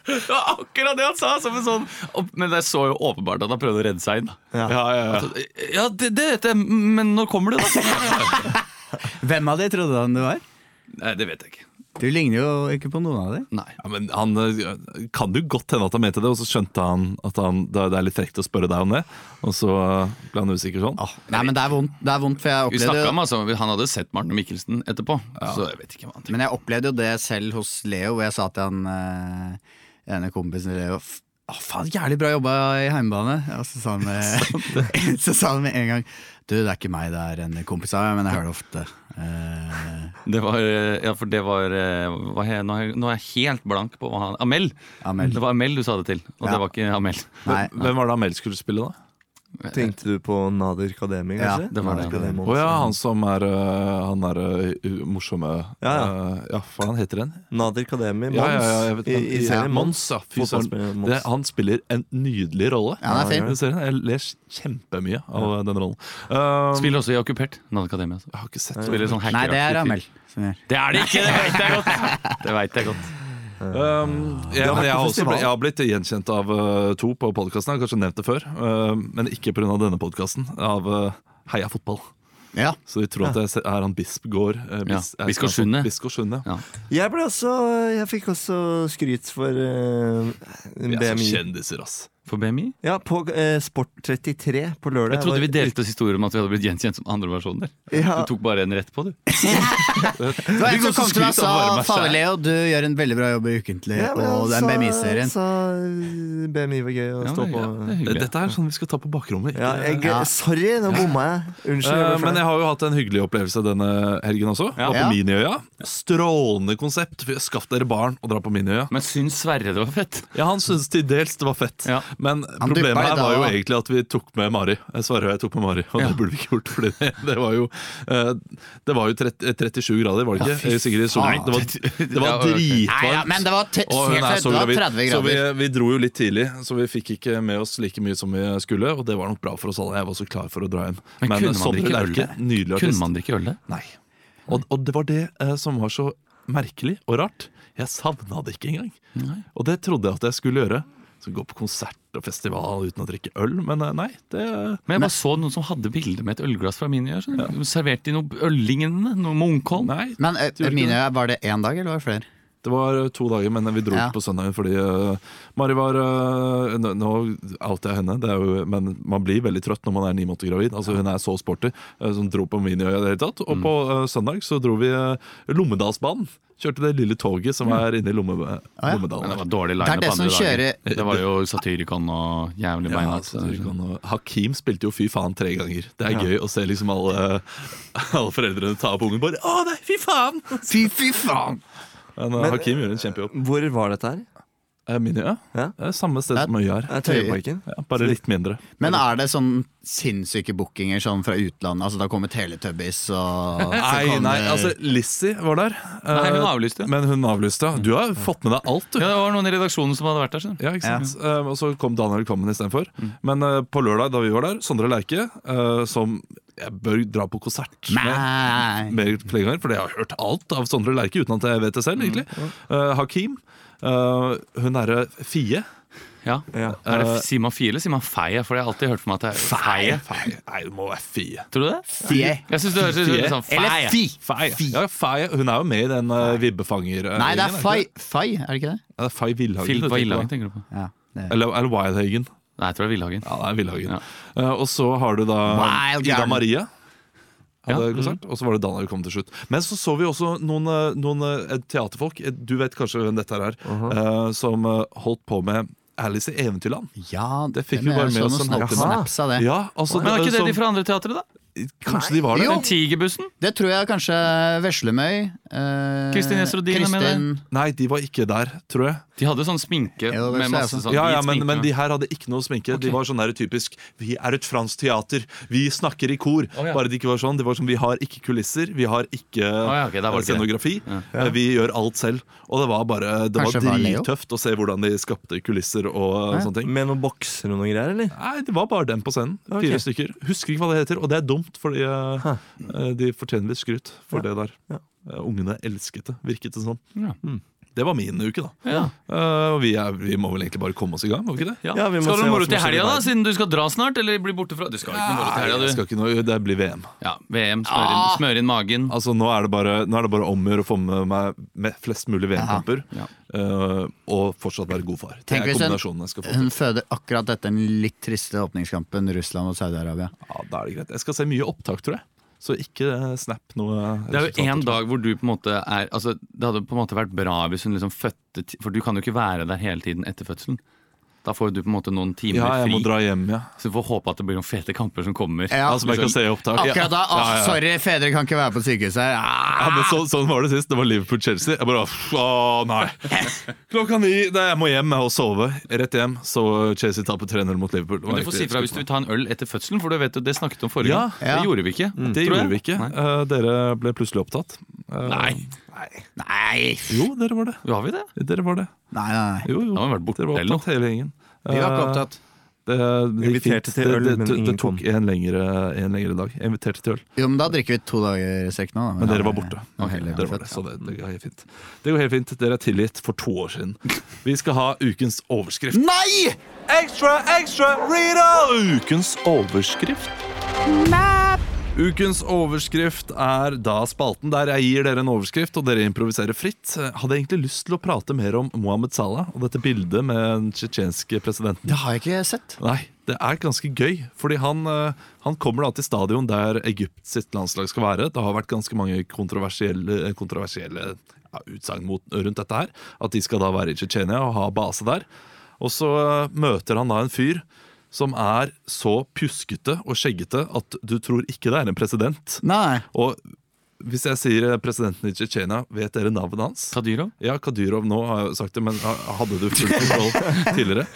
D: det var akkurat det han sa! Som en sånn, opp- men jeg så jo åpenbart at han prøvde å redde seg inn. da.
A: Ja, ja, ja.
D: Ja, det, det vet jeg, men når kommer det, da?
B: <laughs> Hvem av de trodde han du var?
D: Nei, Det vet jeg ikke.
B: Du ligner jo ikke på noen av de.
D: Nei.
A: Ja, men han, eh, kan det jo godt hende at han mente det, og så skjønte han at han, det det er litt frekt å spørre deg om det. Og så eh, ble han usikker sånn.
B: Nei, men det er vondt, det er vondt for jeg
D: Vi
B: opplevde
D: snakket
B: jo
D: om altså, Han hadde sett Martin Mikkelsen etterpå, så jeg vet ikke hva han tenkte.
B: Men jeg opplevde jo det selv hos Leo, hvor jeg sa til han eh, ene kompisen Leo "F- Å, faen, jævlig bra jobba i heimebane. Og så sa han
D: <laughs>
B: med, <laughs> så sa han med en gang Du, det er ikke meg, det er en kompis av meg, men jeg hører det ofte. Eh,
D: Det var, eh, ja, for det var eh, hva he- nå, er jeg, nå er jeg helt blank på hva han Amel!
B: Amel.
D: Det var Amel du sa det til, og
B: Ja.
D: det var ikke Amel.
B: nei.
A: Hvem- Hvem var det Amel skulle spille, da?
C: Tenkte du på Nader Kademi,
B: Ja,
C: kanskje?
D: det var det.
C: Nader Kademi
A: Å
C: også.
A: ja, han som er øh, Han er øh, morsomme
C: Ja, ja.
A: øh, ja, hva han heter den?
C: Nader Kademi, Mons.
A: Ja, ja, ja, jeg vet
C: I,
A: ikke.
C: i serien Mons.
A: Mons, ja. Fy søren.
C: Fotballspiller Mons.
A: Det- Han spiller en nydelig rolle.
B: Ja, den er fin.
A: I serien. Jeg ler kjempemye av øh, den rollen. Um,
D: Spiller også i Okkupert. Nan Akademia. altså.
A: Jeg har ikke sett
D: Spiller sånn
B: nei, det
D: hackeraktig
B: er
D: fyr.
B: Amel. som gjør.
D: Det er det ikke, det veit jeg
B: <laughs>
D: godt! Det vet jeg godt
A: Um, jeg,
C: har vært
A: men jeg,
C: på
A: har også
C: festival.
A: blitt, jeg har blitt gjenkjent av øh, to på podkasten. Jeg har kanskje nevnt det før, øh, men ikke pga. denne podkasten. Av øh, Heia fotball.
B: Ja.
A: Så de tror at jeg se- er han Bispgård. øh, Bis-
D: Ja,
A: er-
D: Biskår Sunde.
A: Biskår Sunde.
D: Ja.
C: Jeg ble også Jeg fikk også skryt for eh,
A: Vi er så
C: BMI.
A: kjendiser, ass.
D: For BMI?
C: Ja, på eh, Sport33 på lørdag.
D: Jeg trodde vi
C: var-
D: delte oss historier om at vi hadde blitt gjenkjent som andre versjoner.
C: Ja.
D: Du tok bare en rett på, du.
B: Det var en
A: går
B: som
A: så
B: kom til meg og
A: skryt av varme
B: sa
A: skjær.
D: altså."
B: Fader Leo, du gjør en veldig bra jobb i Ukentlig
C: Ja, men
B: og
C: han
B: den
C: sa-
B: BMI-serien.
C: Sa
D: altså.
C: eh, BMI var gøy å
D: Ja,
C: stå
D: men,
C: på.
D: ja, det er hyggelig.
A: Dette er sånn vi skal ta på bakrommet. ikke-
C: Ja, jeg,
B: Ja.
C: Sorry, nå bomma jeg. Unnskyld.
A: Eh,
C: jeg ble
A: men jeg
C: flau.
A: har jo hatt en hyggelig opplevelse denne helgen også. Var på
B: Ja.
A: Miniøya. Strålende konsept. Skaff dere barn og dra på Miniøya.
D: Men syns Sverre det var fett?
A: Ja, Han syntes til dels det var fett,
D: Ja.
A: men
B: Han
A: problemet
B: duppa
A: her
B: litt
A: var jo
B: av, da.
A: egentlig at vi tok med Mari. Jeg svarer jo jeg tok med Mari, og
D: Ja.
A: det burde vi ikke gjort. Fordi det, det var jo, eh, det var jo 30, 37 grader, var det ikke? Eh, Sigrid i solen.
B: faen.
A: Det var, det var
D: <laughs> Ja, ok.
A: dritvarmt.
B: Nei, ja, men det var t-
A: Og hun
B: helt
A: er
B: rett,
A: så
B: det var
A: gravid.
B: 30
A: Så vi,
B: grader.
A: vi dro jo litt tidlig, så vi fikk ikke med oss like mye som vi skulle. Og det var nok bra for oss alle. Jeg var så klar for å dra hjem.
D: Men kunne man
A: Sondre
D: drikke
A: Lerche,
D: øl?
A: Nydelig
D: Kunne
A: artist.
D: man drikke øl der?
A: Nei. Og, og det var det eh, som var så merkelig og rart. Jeg savna det ikke engang. Og det trodde jeg at jeg skulle gjøre. Så Gå på konsert og festival uten å drikke øl. Men eh, nei, det
D: Men jeg bare så noen som hadde bilde med et ølglass fra Mini. her, skjønner du. Servert i noe Øllingene, noe Munkholm.
A: Nei.
B: Men eh,
A: Tror ikke
B: Mine, var det én dag, eller var det flere?
A: Det var eh, to dager, men vi dro
B: Ja.
A: ikke på søndagen fordi eh, Mari var eh, Nå nå outer jeg henne, det er jo, men man blir veldig trøtt når man er ni måneder gravid. Altså Hun er så sporty, eh, som dro på miniøya i det hele tatt. Og på eh, søndag så dro vi eh, Lommedalsbanen. Kjørte det lille toget som er inne i Lomme,
B: ja.
D: Men det
A: Lommedalen.
D: var dårlig
B: Det
D: line
B: er det
D: på andre
B: som
D: dager.
B: kjører-
D: Det var jo Satyricon og jævlig
A: Ja,
D: beinhardt.
A: altså, du kan- Hakim spilte jo Fy faen tre ganger. Det er gøy å se liksom alle, <laughs> alle foreldrene ta opp ungen bare Å nei, fy faen!
B: Fy, fy faen!
A: Men, eh, Hakim gjør en kjempejobb.
C: Hvor var dette her?
A: Eh, Miniøya?
C: Ja.
A: Det er Samme sted som Øya er.
C: Er Tøyeparken?
A: Ja, bare litt mindre.
B: Men er det sånn sinnssyke bookinger sånn fra utlandet? Altså Da kommer Teletubbies og så
A: <laughs> Nei,
B: kommer-
A: nei, altså Lizzie var der.
D: Nei, hun
A: eh,
D: avlyste.
A: Men hun avlyste. Du har fått med deg alt, du.
D: Ja, det var noen i redaksjonen som hadde vært der. skjønner du.
A: Ja, ikke sant? Eh, og så kom Daniel Kvammen istedenfor. Men eh, på lørdag, da vi var der, Sondre Lerche, eh, som jeg bør dra på konsert med
B: Nei.
A: mer flere ganger, for jeg har hørt alt av Sondre Lerche uten at jeg vet det selv, egentlig. Eh, Hakim. eh, hun derre Fie.
D: Ja.
C: Ja.
D: Er det, sier man fie eller sier man feie? For jeg har alltid hørt for meg at det er feie.
A: Feie. Nei, det må være Fie.
D: Tror du det?
B: Fie.
D: Jeg synes det høres ut som sånn
B: Eller
D: feie.
B: fi.
A: Feie. Ja, feie. Hun er jo med i den uh, vibbefanger... eh,
B: Nei, det er
A: gjengen,
B: Fai,
A: ikke
B: fai er det ikke det?
A: Ja, det er Fei
D: Fil-
A: Villhagen.
D: Hva Ildhagen tenker du på?
B: Ja, det.
A: Eller, eller Wildhagen.
D: Nei, jeg tror det er Villhagen.
A: Ja, det er Villhagen.
D: Ja.
A: Eh, og så har du da
B: Wild
A: Ida
B: Garden. mhm.
A: Marie. Hadde
D: Ja,
A: konsert, Og så var det Daniel kom til slutt. Men så så vi også noen, eh, noen eh, teaterfolk, eh, du vet kanskje hvem dette her er,
B: Mhm.
A: eh, som eh, holdt på med Alice i Eventyrland.
B: Ja,
A: Det fikk
B: den
A: vi bare
B: er
A: med
B: sånn
A: oss
B: noen
A: en
B: snap-
A: halvtime.
B: snaps av det.
A: Ja, altså,
D: Men er ikke det
A: som-
D: de fra andre teatret, da?
A: Kanskje de var der?
B: Jo.
D: Den Tigerbussen?
B: Det tror jeg kanskje Veslemøy. eh,
D: Kristin Gjesrodin er med
B: Kristin-
A: Nei, de var ikke der, tror jeg.
D: De hadde sånn sminke
B: Ja, det
D: med
B: ser jeg
D: masse
B: også.
D: sånn
A: Ja,
D: hvit
A: ja men,
D: sminke.
A: men de her hadde ikke noe sminke. De var sånn der typisk Vi er et fransk teater, vi snakker i kor.
D: Å, ja.
A: Bare det ikke var sånn. Det var sånn Vi har ikke kulisser, vi har ikke
D: ja, ok, der var det ikke
A: scenografi. Eh, Vi gjør alt selv. Og det var bare Det
B: Kanskje det
A: var
B: var Leo?
A: drittøft å se hvordan de skapte kulisser og eh, sånne ting.
C: Med noen bokser og noen greier, eller?
A: Nei, det var bare dem på scenen.
C: Ok.
A: Fire stykker. Husker ikke hva det heter, og det er dumt, fordi eh, eh, de fortjener litt skryt for det der.
C: Ja.
A: Eh, Ungene elsket det, virket det sånn.
D: Ja.
A: Det var min uke, da.
D: Ja.
A: Eh, og vi, er, vi må vel egentlig bare komme oss i gang, må vi ikke det?
C: Ja, vi må
D: skal du
C: se hva
D: ha moro
C: som
D: til
C: skjer i
D: helga, da?
C: verden.
D: Siden du skal dra snart? Eller bli borte fra Du skal ikke noe moro til
A: Nei, det
D: helga, du.
A: skal ikke noe, det blir VM.
D: Ja, VM, smør inn, smør inn magen.
A: Altså Nå er det bare, nå er det bare om å gjøre å få med meg med flest mulig VM-kamper.
D: Ja.
A: eh, og fortsatt være god far. Det
B: Tenk
A: er
B: hvis en-
A: kombinasjonen jeg skal få til.
B: Hun føder akkurat etter den litt triste åpningskampen Russland og Saudi-Arabia.
A: Ja, da er det greit. Jeg skal se mye opptak, tror jeg. Så ikke eh, snap noe
D: Det er jo
A: resultater.
D: en dag hvor du på en måte er altså, Det hadde på en måte vært bra hvis hun liksom fødte ti- For du kan jo ikke være der hele tiden etter fødselen. Da får du på en måte noen timer
A: Ja, jeg
D: fri.
A: må dra hjem, ja.
D: Så vi får håpe at det blir noen fete kamper som kommer.
B: Ja.
A: Altså, men jeg kan se i opptak.
B: Akkurat da!
A: Ja, ja,
B: Å,
A: ja.
B: sorry, fedre kan ikke være på sykehuset.
A: Ja,
B: Ah!
A: men så, sånn var det sist. Det var Liverpool-Chelsea. Jeg bare "Pff, Å, nei.
B: <laughs>
A: Klokka ni. Nei, jeg må hjem jeg, og sove. Rett hjem. Så Chelsea taper 3-0 mot Liverpool.
D: Men du får si fra hvis du vil ta en øl etter fødselen, for du vet jo, det snakket du om forrige
A: Ja. Mm.
D: gang.
B: Ja.
D: Det gjorde vi ikke.
A: Det
D: tror jeg.
A: gjorde vi ikke.
D: Nei.
A: Eh, dere ble plutselig opptatt. Eh,
D: Nei.
B: Nei.
A: Jo, dere var det.
D: Har vi det?
A: Dere var det.
B: Nei, nei, nei.
A: Jo, jo.
D: Da har vi vært borte
A: Dere var
D: eller noe.
A: opptatt hele gjengen.
B: Vi var ikke opptatt.
A: Det, det, gikk
C: Inviterte
A: fint.
C: til øl,
A: det, det,
C: men
A: det,
C: ingen
A: det tok en lengre, en lengre dag. Jeg inviterte til øl,
B: Jo, men da drikker vi to dager i strekk nå. da.
A: men dere var borte.
B: Ja,
A: Ok,
B: heller,
A: dere var
B: fett.
A: det, så det, det går helt fint. Det går helt fint. Dere er tilgitt for to år siden. Vi skal ha ukens overskrift.
B: Nei!
A: Ekstra, ekstra, Rita! Ukens overskrift. Ukens overskrift er da spalten der jeg gir dere en overskrift, og dere improviserer fritt. Eh, Hadde egentlig lyst til å prate mer om Mohammed Salah og dette bildet med den tsjetsjenske presidenten.
B: Det har jeg ikke sett.
A: Nei, det er ganske gøy. Fordi han, eh, han kommer da til stadion der Egypts sitt landslag skal være. Det har vært ganske mange kontroversielle, eh, kontroversielle ja, utsagn mot- rundt dette her. At de skal da være i Tsjetsjenia og ha base der. Og så eh, møter han da en fyr som er så pjuskete og skjeggete at du tror ikke det er en president.
B: Nei.
A: Og hvis jeg sier eh, presidenten i Tsjetsjenia, vet dere navnet hans?
D: Kadyrov?
A: Ja, Kadyrov nå har jeg jo sagt det, men ha- hadde du full kontroll tidligere?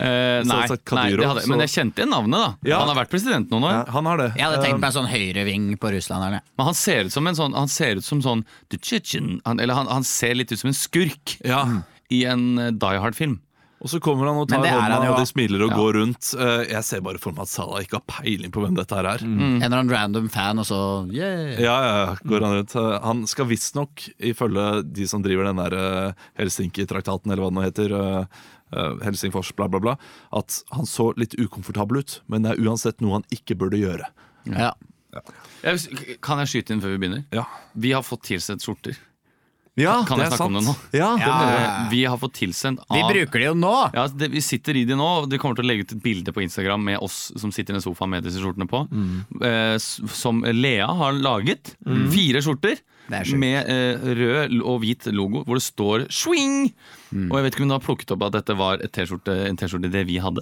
D: Eh, nei,
A: sagt
D: nei
A: Kadyrov,
D: det hadde,
A: så-
D: men jeg kjente igjen navnet, da.
A: Ja.
D: Han har vært president noen år.
A: Han har det.
B: Jeg hadde tenkt
A: Um,
B: meg en sånn høyreving på russlanderne.
D: Men han ser ut som en sånn Han ser ut som sånn «The Chechen», han, Eller han, han ser litt ut som en skurk
A: Ja.
D: i en eh, Die Hard-film.
A: Og så kommer han og
B: Men
A: tar
B: det er
A: hånda,
B: han jo,
A: og
B: da.
A: de smiler og går rundt. Eh, Jeg ser bare for meg at Salah ikke har peiling på hvem dette her er.
B: En eller annen random fan, og så yeah.
A: Ja, ja, ja, går Han rundt Eh, Han skal visstnok, ifølge de som driver den der eh, Helsinki-traktaten, eller hva det nå heter, eh, eh, Helsingfors, bla, bla, bla, at han så litt ukomfortabel ut. Men det er uansett noe han ikke burde gjøre.
B: Ja.
D: Jeg, kan jeg skyte inn før vi begynner?
A: Ja,
D: Vi har fått tilsett skjorter.
B: Ah,
C: Ja,
D: Kan jeg
C: det er
D: snakke om det
C: sant.
D: nå?
C: Ja, det
B: Ja.
C: må jeg.
D: Eh, Vi har fått tilsendt
B: De
D: av
B: bruker det jo nå!
D: ja, det, Vi sitter i de nå, og de kommer til å legge ut et bilde på Instagram med oss som sitter i den sofaen med disse skjortene på.
B: Mm.
D: Eh, s- som Lea har laget. Fire skjorter
B: Det er sjukt.
D: med eh, rød og hvit logo hvor det står 'swing'.
B: Mm.
D: Og jeg vet ikke om du har plukket opp at dette var et T-skjorte, en T-skjorte det vi hadde.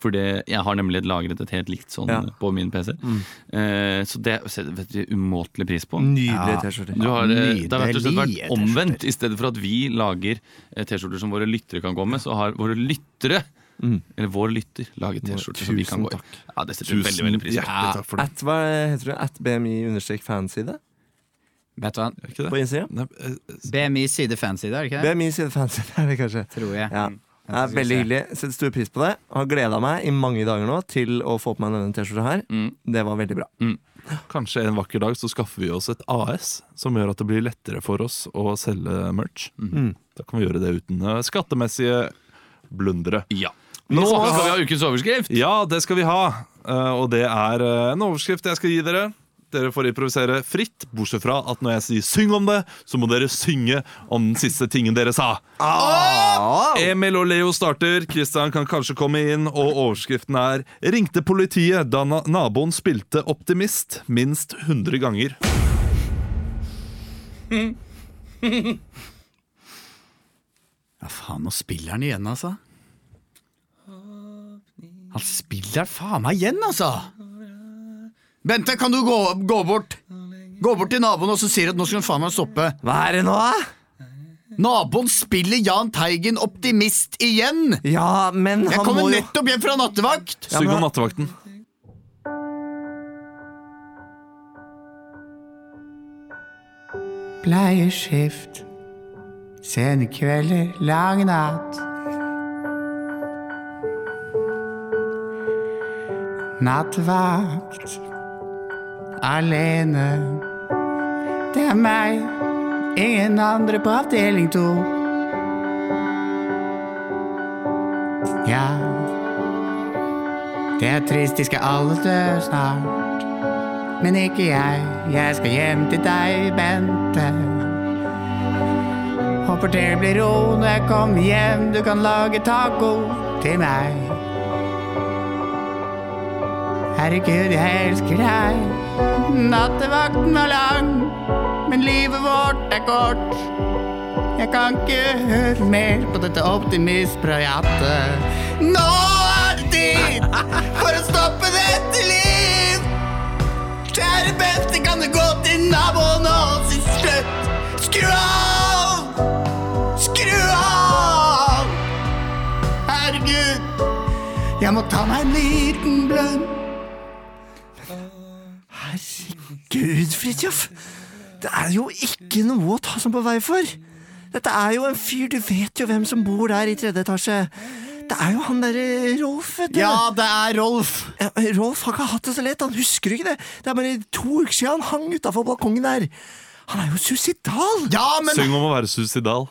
D: For det, jeg har nemlig lagret et helt likt sånn
C: Ja.
D: på min PC.
B: Mm.
D: Eh, så det setter vi umåtelig pris på.
C: Nydelige T-skjorter.
D: Du har, eh, det har rett og slett
B: Nydelige
D: vært omvendt. I stedet for at vi lager eh, T-skjorter som våre lyttere kan gå med, så har våre lyttere
E: Mm.
D: Eller vår lytter laget T-skjorter som vi kan
C: Tusen
D: gå i.
C: takk.
D: Ja, det setter vi veldig, veldig pris på.
A: hjertelig takk for det.
C: At, hva heter det? At BMI-fanside
B: Vet du hva?
A: Er ikke
C: på
A: det?
C: Instagram?
A: Nei, eh,
B: BMI side fanside, er det ikke det?
C: BMI-fanside <laughs> er det kanskje.
B: Tror jeg.
C: Ja. Det er veldig hyggelig. Setter stor pris på det. Har gleda meg i mange dager nå til å få på meg denne T-skjorta her.
D: Mm.
C: Det var veldig bra.
A: Kanskje en vakker dag så skaffer vi oss et AS som gjør at det blir lettere for oss å selge merch. Da kan vi gjøre det uten eh, skattemessige blundere.
D: Ja. Nå skal vi ha ukens overskrift!
A: Ja, det skal vi ha. Eh, og det er eh, en overskrift jeg skal gi dere. Dere får improvisere fritt, bortsett fra at når jeg sier 'syng om det', så må dere synge om den siste tingen dere sa. Emil og Leo starter, Christian kan kanskje komme inn, og overskriften er 'Ringte politiet da na naboen spilte optimist minst 100 ganger'.
B: Ja, faen, nå spiller han igjen, altså. Han spiller faen meg igjen, altså! Bente, kan du gå, gå bort? Gå bort til naboen og så sier at nå skal han faen meg stoppe.
C: Hva er det nå, da?
B: Naboen spiller Jahn Teigen optimist igjen!
C: Ja, men
B: Jeg
C: han
B: kommer
C: må jo
B: nettopp hjem fra nattevakt!
A: Syng om
C: men-
A: nattevakten.
E: Bleieskift. Senkvelder, lang natt. Nattvakt. Alene. Det er meg. Ingen andre på avdeling to. Ja. Det er trist, de skal alle dø snart. Men ikke jeg, jeg skal hjem til deg, Bente. Håper det blir ro når jeg kommer hjem, du kan lage taco til meg. Herregud, jeg elsker deg. Nattevakten var lang, men livet vårt er kort. Jeg kan ikke høre mer på dette optimistprajatet. Nå er det tid for å stoppe dette liv! Kjære beste, kan du gå til naboen og si slutt? Skru av! Skru av! Herregud, jeg må ta meg en liten blunt.
C: Gud, Fridtjof! Det er jo ikke noe å ta som på vei for! Dette er jo en fyr, du vet jo hvem som bor der i tredje etasje. Det er jo han derre Rolf, vet du.
B: Ja, det er Rolf.
C: Ja, Rolf har ikke hatt det så lett, han husker ikke det. Det er bare to uker siden han hang utafor balkongen der. Han er jo suicidal!
B: Ja, men
A: Syng om å være suicidal.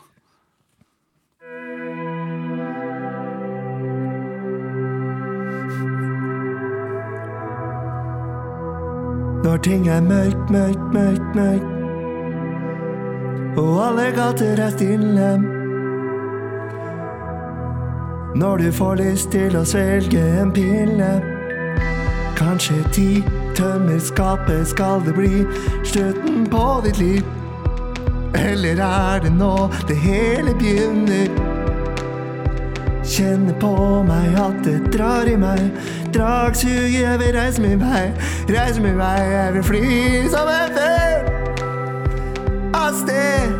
C: Når ting er mørkt, mørkt, mørkt, mørkt Og alle gater er stille Når du får lyst til å svelge en pille Kanskje ti tømmer skapet skal det bli Slutten på ditt liv Eller er det nå det hele begynner Kjenner på meg at det drar i meg. Dragsuget, jeg vil reise min vei. Reise min vei, jeg vil fly som en fugl. Av sted.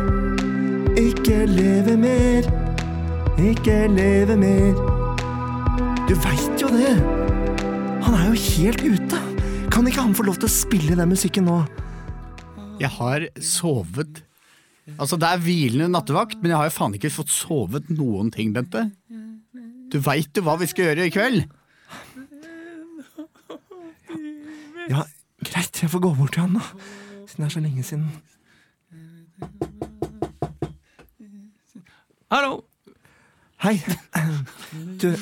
C: Ikke leve mer. Ikke leve mer. Du veit jo det. Han er jo helt ute. Kan ikke han få lov til å spille den musikken nå?
B: jeg har sovet. Altså, det er hvilende nattevakt, men jeg har jo faen ikke fått sovet noen ting, Bente. Du veit jo hva vi skal gjøre i kveld?
C: Ja, greit, jeg får gå bort til han, da. Siden det er så lenge siden.
D: Hallo!
C: Hei. Du,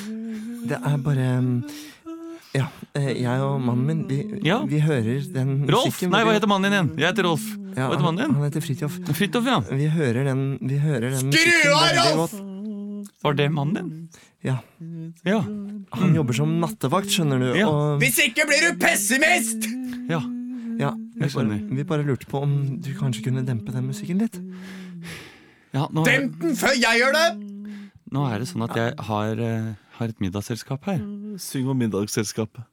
C: det er bare um, Ja, eh, jeg og mannen min, vi,
D: Ja.
C: vi hører den
D: Rolf!
C: musikken
D: Nei, hva
C: vi-
D: heter mannen din igjen? Jeg heter Rolf.
C: ja,
D: Hva heter mannen
C: Han,
D: din?
C: han heter Fridtjof.
D: Fridtjof, ja.
C: Vi hører den, vi hører den musikken veldig godt.
D: Var det mannen din?
C: Ja.
D: Ja.
C: Han jobber som nattevakt, skjønner du.
D: Mm. Ja.
C: Og,
E: Hvis ikke blir du pessimist!
D: ja.
C: ja, vi,
D: Jeg
C: bare,
D: skjønner.
C: vi bare lurte på om du kanskje kunne dempe den musikken litt.
D: ja nå, er,
E: Demp den før jeg gjør det!
D: nå er det sånn at jeg har, eh, har et middagsselskap her.
A: Syng om middagsselskapet.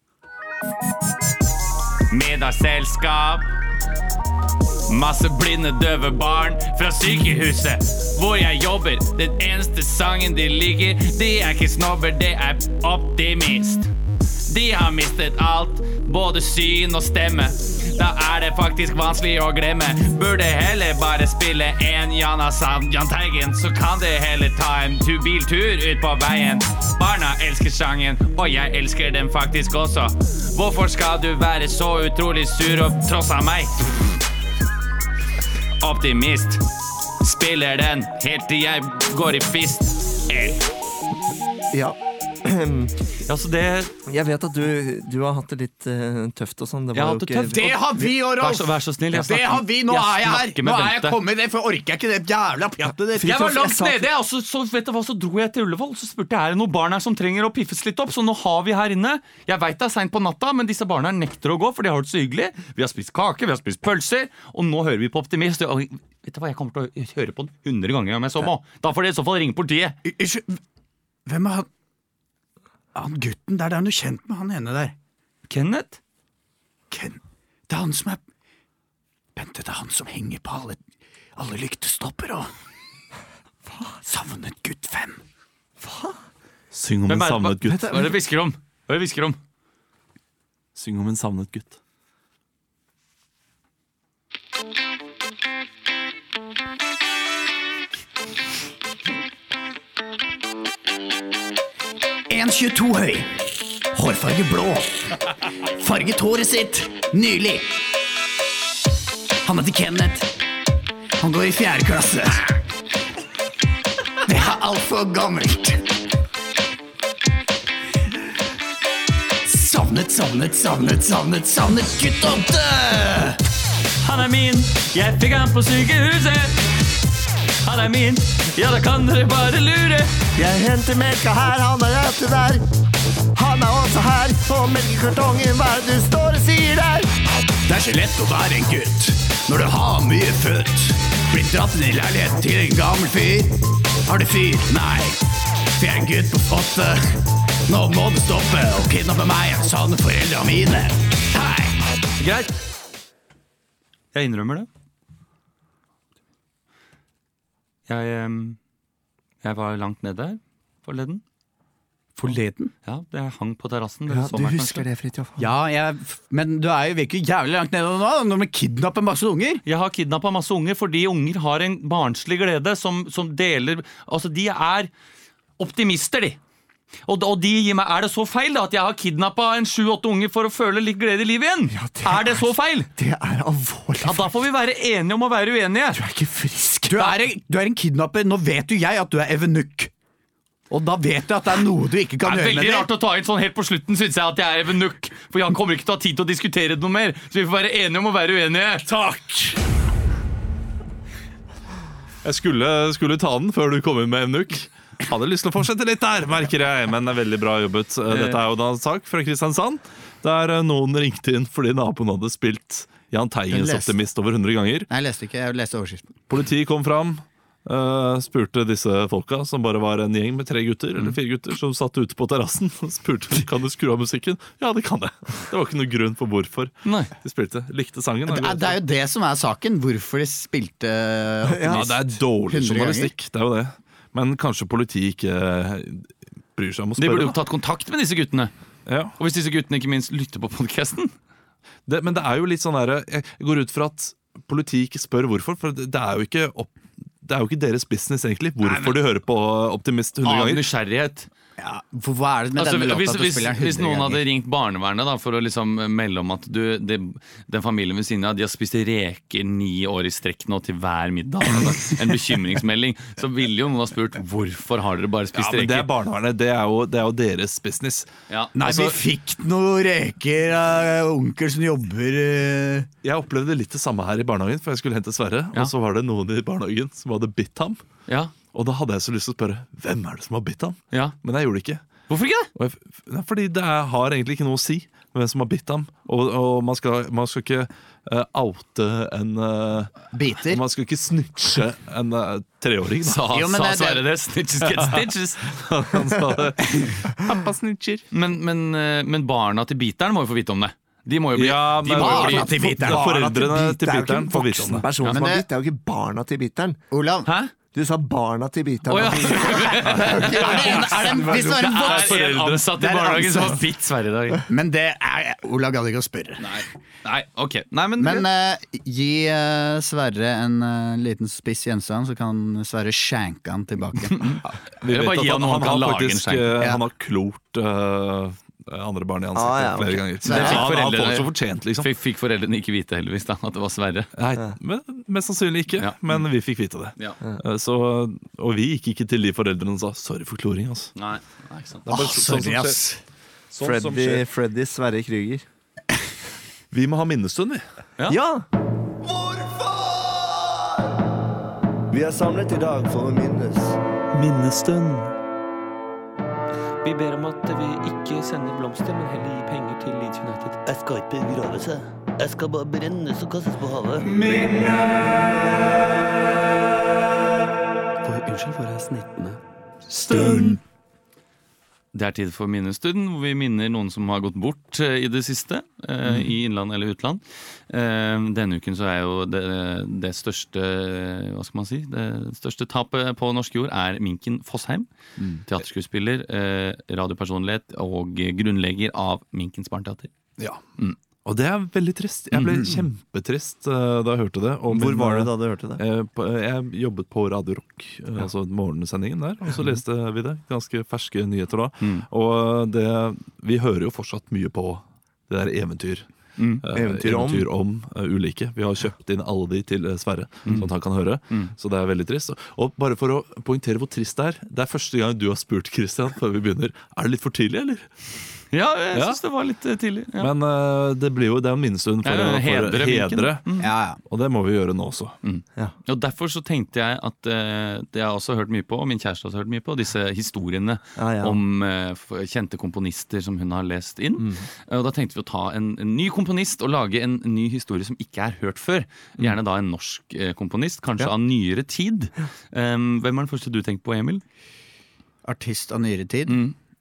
D: Middagsselskap. Masse blinde, døve barn fra sykehuset hvor jeg jobber. Den eneste sangen de liker, det er ikke snobber, det er optimist. De har mistet alt, både syn og stemme. Da er det faktisk vanskelig å glemme. Burde heller bare spille en Jan Asam, Jahn Teigen, så kan det heller ta en tu biltur ut på veien. Barna elsker sangen, og jeg elsker den faktisk også. Hvorfor skal du være så utrolig sur og trossa meg? Optimist. Spiller den helt til jeg går i fist. L.
C: Ja. <clears throat>
D: Ja, så det
C: Jeg vet at du, du har hatt det litt eh, tøft og sånn. Det
D: Jeg
C: var jo
D: har hatt det
C: ikke
D: tøft.
E: Det har vi og
D: Vær
E: Rolf!
D: så, vær så snill. Jeg
E: det
D: snakker-
E: har vi! Nå
D: jeg
E: er jeg her!
D: snakker med
E: Nå er jeg
D: Bente.
E: kommet, for jeg orker ikke det jævla pjattet ditt.
D: Jeg var
C: jeg
D: langt
C: sa-
D: nede, og så, så, vet du hva, så dro jeg til Ullevål. Så spurte jeg er det noen barn her som trenger å piffes litt opp. Så nå har vi her inne. Jeg veit det er seint på natta, men disse barna nekter å gå, for de har det så hyggelig. Vi har spist kake, vi har spist pølser, og nå hører vi på Optimist. Og, vet du hva, Jeg kommer til å høre på den 100 ganger om jeg så må. Da får dere i så fall ringe politiet.
E: Unnskyld, hvem er han Han gutten der, det er noe kjent med han ene der.
D: Kenneth?
E: Ken. Det er han som er Bente, det er han som henger på alle, alle lyktestopper og Savnet gutt fem.
A: Syng om
D: Hvem
A: en
D: er-
A: savnet
D: hva-
A: gutt.
D: Hva er det vi hvisker om? Hva er det vi hvisker om?
A: Syng om en savnet gutt.
E: En 22 høy. Hårfarge blå. Farget håret sitt nylig. Han heter Kenneth. Han går i fjerde klasse. Det er altfor gammelt. Savnet, savnet, savnet, savnet, savnet gutt og død!
D: Han er min, jeg fikk han på sykehuset. Han er min, ja da kan dere bare lure.
C: Jeg henter melka her, han er ute der. Han er også her, og melkekartongen, hva er det du står og sier der?
E: Det er så lett å være en gutt når du har mye født. Blitt dratt inn i leiligheten til en gammel fyr. Har du fyr? Nei. For jeg er en gutt på åtte. Nå må du stoppe å kidnappe meg. Jeg savner foreldra mine. Hei.
D: Greit. Jeg innrømmer det. Jeg, em, jeg var langt nede her forleden.
E: Forleden?
D: Ja, jeg hang på terrassen.
C: Ja, du husker det, Fridtjof.
E: Ja, men du er jo virker jævlig langt nede nå, når man kidnapper masse unger.
D: Jeg har kidnappa masse unger fordi unger har en barnslig glede som, som deler Altså, de er optimister, de. Og, d- og de gir meg Er det så feil da at jeg har kidnappa en sju-åtte unger for å føle litt glede i livet igjen?
C: det
D: er, det
C: er-
D: så feil?
C: Det er alvorlig.
D: Ja, da får vi være enige om å være
C: Du
D: uenige.
C: er ikke frisk.
E: Du er, en- du er en kidnapper. Nå vet jo jeg at du er evenukk. Og da vet jeg at det er noe du
D: Det
E: ikke kan
D: er
E: gjøre med
D: veldig rart å ta inn sånn helt på slutten, syns jeg, at jeg er evenukk. For han kommer ikke til å ha tid til å diskutere det noe mer. Så vi får være enige om å være uenige. Takk!
A: Jeg skulle, skulle ta den før du kom inn med Evnuk. Hadde lyst til å fortsette litt der, merker jeg, men det er veldig bra jobbet. Eh, Dette er jo da en sak fra Kristiansand, der eh, noen ringte inn fordi naboen hadde spilt Jahn
B: Jeg
A: Teigens
B: leste.
A: Optimist over 100 ganger.
B: Nei, jeg leste ikke. Jeg leste overskriften.
A: Politiet kom fram, eh, spurte disse folka, som bare var en gjeng med tre gutter, eller fire gutter, som satt ute på terrassen, <laughs> og spurte om de kan du skru av musikken. Ja, det kan jeg. Det var ikke noe grunn for hvorfor
D: Nei.
A: de spilte. Likte sangen.
B: Det er, det er jo det som er saken. Hvorfor de spilte
A: Ja, det er dårlig
B: 100
A: journalistikk. Det er jo det. Men kanskje politiet ikke eh, bryr seg om å
D: De burde
A: spørre.
D: jo tatt kontakt med disse guttene.
A: da. Ja.
D: Og hvis disse guttene ikke minst lytter på podkasten
A: Det, men det er jo litt sånn derre Jeg går ut fra at politiet ikke spør hvorfor, for det, det er jo ikke opp det er jo ikke deres business egentlig hvorfor de hører på Optimist 100
D: av
A: ganger.
D: nysgjerrighet
B: For Hva er det med
D: Altså,
B: denne
D: hvis,
B: låta at du
D: hvis,
B: spiller den
D: hvis
B: 100
D: noen hadde
B: ganger?
D: ringt barnevernet da, for å liksom melde om at du, det, den familien ved siden av de har spist reker ni år i strekk nå til hver middag, altså, en bekymringsmelding, så ville jo noen ha spurt hvorfor har dere bare
A: Ja,
D: spist
A: men det er
D: reker?
A: barnevernet. Det er jo, det er jo deres business.
D: Ja,
B: Nei,
D: altså,
B: vi fikk noen reker av onkel som jobber eh,
A: Jeg opplevde litt det samme her i barnehagen, for jeg skulle hente Sverre.
D: Ja.
A: Og så var det noen i barnehagen som hadde bitt ham.
D: ja,
A: Og da hadde jeg så lyst til å spørre hvem er det som har bitt ham?
D: ja.
A: Men jeg gjorde det ikke.
D: Hvorfor ikke det?
A: Og jeg, f- nei, fordi det er, har egentlig ikke noe å si hvem som har bitt ham. Og, og man, skal, man skal ikke eh, oute en eh,
B: biter.
A: Man skal ikke snitche en eh, treåring, da.
D: Sa,
B: Jo, men
D: Ah, sa
B: det er det-
D: Sverre det? Snitches get
B: <laughs>
D: stitches.
A: Han sa det.
D: Pappa snitcher. Men, men, eh, men barna til biteren må jo få vite om det. De må jo bli,
A: Ja,
D: de
A: men-
D: må jo
A: Barna
D: bli
A: til biteren. Foreldrene til biteren får vite om det.
C: Person
B: Ja,
C: som
B: men
C: har
B: det-
C: bitt, det er jo ikke barna til biteren.
B: Olav,
D: Hæ?
C: Du sa barna til
D: Å
C: biteren.
B: <laughs>
D: ja!
B: er det en, er det en, hvis det var en voksen
D: Det er en ansatt i
B: Det er en
D: barnehagen som har
B: ansatt.
D: bitt Sverre i dag.
B: Men det er Olav gadd ikke å spørre.
D: Nei, nei, ok. Nei, men,
B: Men eh, gi eh, Sverre en eh, liten spiss gjensang, så kan Sverre skjenke han tilbake. <laughs>
A: Vi
D: Eller
A: vet
D: bare
A: at
D: gi
A: han,
D: han
A: han,
D: noe han kan
A: har
D: lage en
A: faktisk
D: skjerm.
A: eh,
B: Ja.
A: Han har klort eh, andre barn i ansiktet
C: Ah, ja, ok.
A: flere ganger.
B: det fikk
A: Ja, han har
D: foreldrene-
A: fått så fortjent, liksom.
D: Fikk, fikk foreldrene ikke vite heldigvis da, at det var Sverre.
A: Nei, men, Mest sannsynlig ikke,
D: Ja.
A: men vi fikk vite det.
D: Ja.
A: Eh, Så, og vi gikk ikke til de foreldrene og sa 'sorry for kloring'. Altså.
D: Nei, nei, ikke sant.
A: Det er bare
B: Ah,
A: så- sånn som
B: sorry,
A: skjer.
B: ass.
A: Sånn som
C: Freddy,
A: skjer.
C: Freddy Sverre Krüger.
A: Vi må ha minnestund, vi.
D: Ja.
C: Ja! Vi er samlet i dag for å minnes.
F: Vi ber om at vi ikke sender blomster, men heller gir penger til Leeds United.
G: Jeg skal ikke begravelse. Jeg skal bare brennes og kastes på havet.
F: For, unnskyld, hvor er snittene?
D: Det er tid for minnestunden, hvor vi minner noen som har gått bort eh, i det siste. eh, I innland eller utland. Eh, Denne uken så er jo det, det største Hva skal man si? Det største tapet på norsk jord er Minken Fossheim. Mm. Teaterskuespiller, eh, radiopersonlighet og grunnlegger av Minkens barneteater.
A: Ja.
C: Mm.
A: Og det er veldig trist. Jeg ble kjempetrist eh, da jeg hørte det. Og
C: Mm-hmm. Hvor
A: min, eh,
C: var du da du hørte det?
A: Eh, på- eh, Jeg jobbet på Radio Rock, eh, altså morgensendingen der,
C: Mm-hmm.
A: og så leste vi det. Ganske ferske nyheter da.
C: Mm.
A: Og eh, det, vi hører jo fortsatt mye på det der eventyr. Eh,
C: Mm. Eventyr om.
A: eventyr om eh, ulike. Vi har kjøpt inn alle de til eh, Sverre,
C: Mm.
A: sånn at han kan høre. Så det er veldig trist. Og bare for å poengtere hvor trist det er. Det er første gang du har spurt Christian før vi begynner. Er det litt for tidlig, eller?
D: Ja, jeg
A: Ja.
D: syns det var litt eh, tidlig. Ja.
A: Men eh, det blir jo det er en minnestund for, å-
D: Ja, ja,
A: for
D: hedre
A: å
D: Minken.
A: hedre. mm.
B: Ja, ja.
A: Og det må vi gjøre nå også.
D: Og Derfor så tenkte jeg at eh, det jeg har også hørt mye på, og min kjæreste har også hørt mye på, disse historiene
C: Ja, ja.
D: om eh, f- kjente komponister som hun har lest inn. Eh, Og Da tenkte vi å ta en, en ny komponist og lage en ny historie som ikke er hørt før. Gjerne da en norsk eh, komponist, kanskje av nyere tid. Um, hvem er den første du tenker på, Emil?
B: Artist av nyere tid.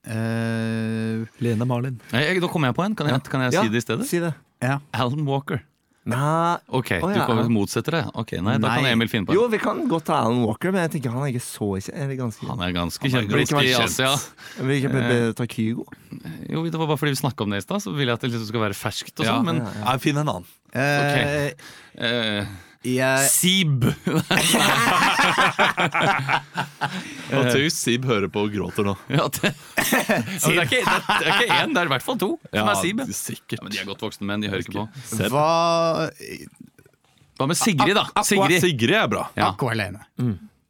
B: Eh,
A: Lene Marlin.
D: Nei, jeg, da kommer jeg på en. Kan jeg, kan jeg
C: Ja,
D: si det i stedet?
C: Si det.
B: ja.
D: Alan Walker.
C: Nei
D: Ok,
C: Å,
D: du
C: ja,
D: kan
C: ja.
D: motsette deg. Ok, nei, Da
B: Nei.
D: kan Emil finne på
C: Jo,
D: en.
C: vi kan godt ta Alan Walker, men jeg tenker han er ikke så ikke, eller ganske
D: Han er ganske
A: Han er
D: kjent
A: ganske
D: i
A: kjent.
D: Asia.
C: Vi kan bare ta Kygo.
D: Jo, Det var bare fordi vi snakka om det i stad, så vil jeg at det liksom skal være ferskt. og sånn,
A: Ja,
D: men
A: men Nei, Finn en annen.
B: Eh,
D: Eh,
B: jeg,
D: Sib! <laughs> Eh.
A: Og Taus Sib hører på og gråter nå.
D: ja, det, ja, men det er ikke det er ikke én, det er i hvert fall to som er Sib. Ja,
A: sikkert.
D: men de er godt voksne menn, de hører ikke på.
B: hva
D: Hva med Sigrid, da? Sigrid.
A: Sigrid er bra.
D: Ja.
B: Aqua Alene.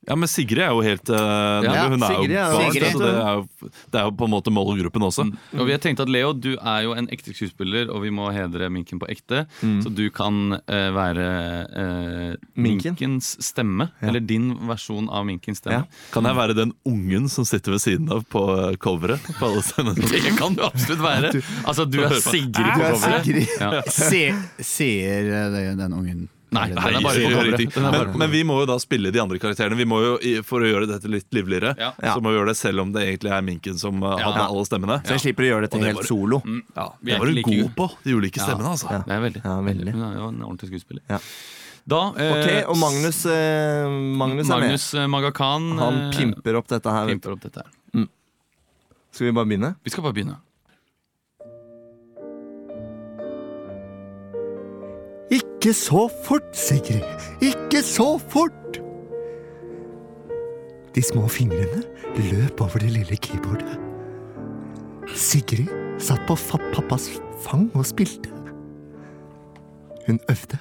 A: Ja, men Sigrid er jo helt eh, nede. Hun er jo
C: Sigrid er jo-
A: barn,
B: Sigrid.
A: så det er, jo, det er jo på en måte målgruppen også.
D: Og vi har tenkt at Leo, du er jo en ekte skuespiller, og vi må hedre Minken på ekte. Så du kan eh, være eh,
C: Minken?
D: Minkens stemme. Eller din versjon av Minkens stemme.
C: Ja.
A: Kan jeg være den ungen som sitter ved siden av på eh, coveret? På alle scenene?
D: <laughs> Det kan du absolutt være. Altså, du er Sigrid på coveret. Ja.
B: <laughs> Se, sier eh, det, den ungen
D: Nei,
B: Eller-
D: den er
A: Nei,
D: bare
A: Sigrid
D: på
A: gjør
D: coveret.
A: ingenting.
D: Den er bare
A: Men,
D: på
A: men vi må jo da spille de andre karakterene. Vi må jo, i- For å gjøre dette litt livligere,
D: Ja.
A: så må vi gjøre det selv om det egentlig er Minken som eh, hadde alle stemmene.
C: Så jeg slipper å gjøre dette
A: det var-
C: helt solo.
A: Ja,
D: Vi
A: Det
D: er
A: var du
D: ikke like
A: god på, de ulike stemmene, altså.
D: Det er veldig.
C: Ja, veldig.
D: Hun er jo en ordentlig skuespiller.
C: Ja.
D: Da, eh,
C: Ok, og Magnus, eh, Magnus er med.
D: Magnus eh, Magakan
C: Han
D: eh,
C: pimper opp dette her. vet du.
D: pimper opp dette her.
C: Skal vi bare begynne?
D: Vi skal bare begynne.
C: Ikke så fort, Sigrid. Ikke så fort! De små fingrene løp over det lille keyboardet. Sigrid satt på fa pappas fang og spilte. Hun øvde.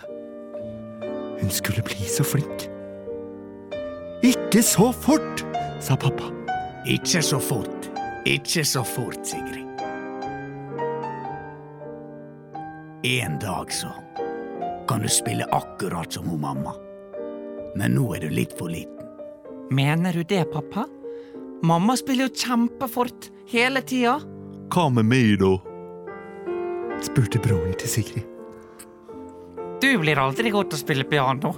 C: Hun skulle bli så flink. Ikke så fort, sa pappa.
E: Ikke så fort. Ikke så fort, Sigrid. En dag så kan du spille akkurat som hun mamma. Men nå er du litt for liten.
H: Mener du det, pappa? Mamma spiller jo kjempefort hele tida.
A: Hva med meg, da?
C: spurte broren til Sigrid.
H: Du blir aldri god til å spille piano.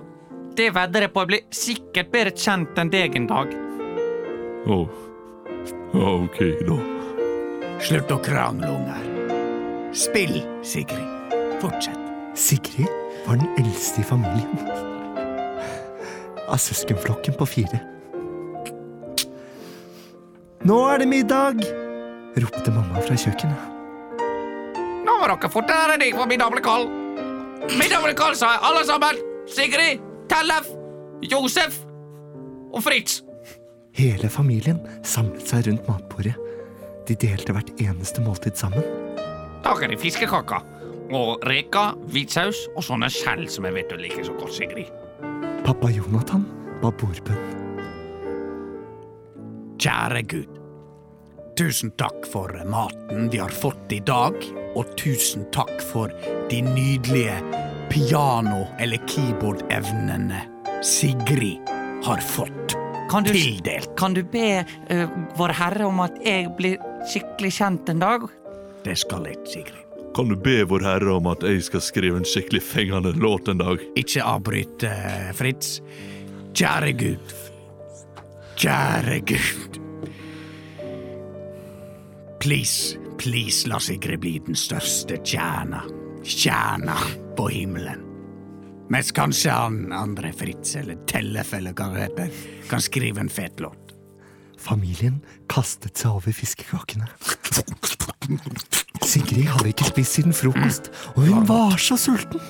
H: Det vedder jeg på jeg blir sikkert bedre kjent enn deg en dag.
A: Å, ja, ok, da.
E: Slutt å krangle, unger. Spill, Sigrid. Fortsett.
C: Sigrid var den eldste i familien. Av søskenflokken på fire. Nå er det middag! ropte mamma fra kjøkkenet.
D: Nå må dere fortere deg for middablekål. Middablekål, sa jeg, alle sammen. Sigrid, Tellef, Josef og Fritz.
C: Hele familien samlet seg rundt matbordet. De delte hvert eneste måltid sammen.
D: Lager de fiskekaker. Og reker, hvitsaus og sånne skjell som jeg vet du liker så godt, Sigrid.
C: Pappa Jonathan ba bordbønn.
E: Kjære Gud. Tusen takk for maten vi har fått i dag, og tusen takk for de nydelige piano- eller keyboard-evnene Sigrid har fått
H: Kan du,
E: tildelt.
H: kan du be eh, Vår Herre om at jeg blir skikkelig kjent en dag?
E: Det skal jeg, Sigrid.
A: Kan du be Vår Herre om at jeg skal skrive en skikkelig fengende låt en dag?
E: Ikke avbryt, eh, Fritz. Kjære Gud. Kjære Gud. Please, please la Sigrid bli den største tjerna. Tjerna på himmelen. Mens kanskje han andre Fritz, eller Tellef, eller hva det heter, kan skrive en fet låt.
C: Familien kastet seg over fiskekakene. Sigrid hadde ikke spist siden frokost, og hun var så sulten.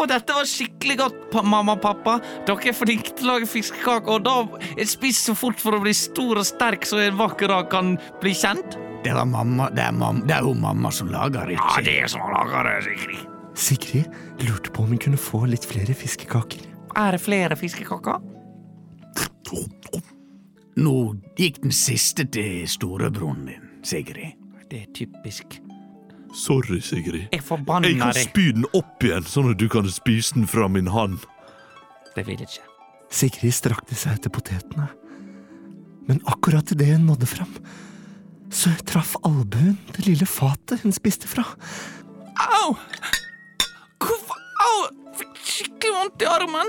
H: Og dette var skikkelig godt, pa mamma og pappa. Dere er flinke til å lage fiskekaker, og da jeg spiser så fort for å bli stor og sterk så jeg en vakker dag kan bli kjent.
E: Det var mamma, det er, mam, det er jo mamma som lager, ikke?
D: Ja, det er som han lager det, Sigrid.
C: Sigrid lurte på om hun kunne få litt flere fiskekaker.
H: Er det flere fiskekaker?
E: Nå gikk den siste til storebroren din, Sigrid.
H: Det er typisk.
A: Sorry, Sigrid.
H: Jeg
A: Jeg
H: forbanner
A: kan
H: deg.
A: spy den opp igjen, sånn at du kan spise den fra min hand.
H: Det vil jeg ikke.
C: Sigrid strakte seg etter potetene. Men akkurat idet hun nådde fram, så traff albuen det lille fatet hun spiste fra.
H: Au! Hvorfor Au! Fikk skikkelig vondt i armen.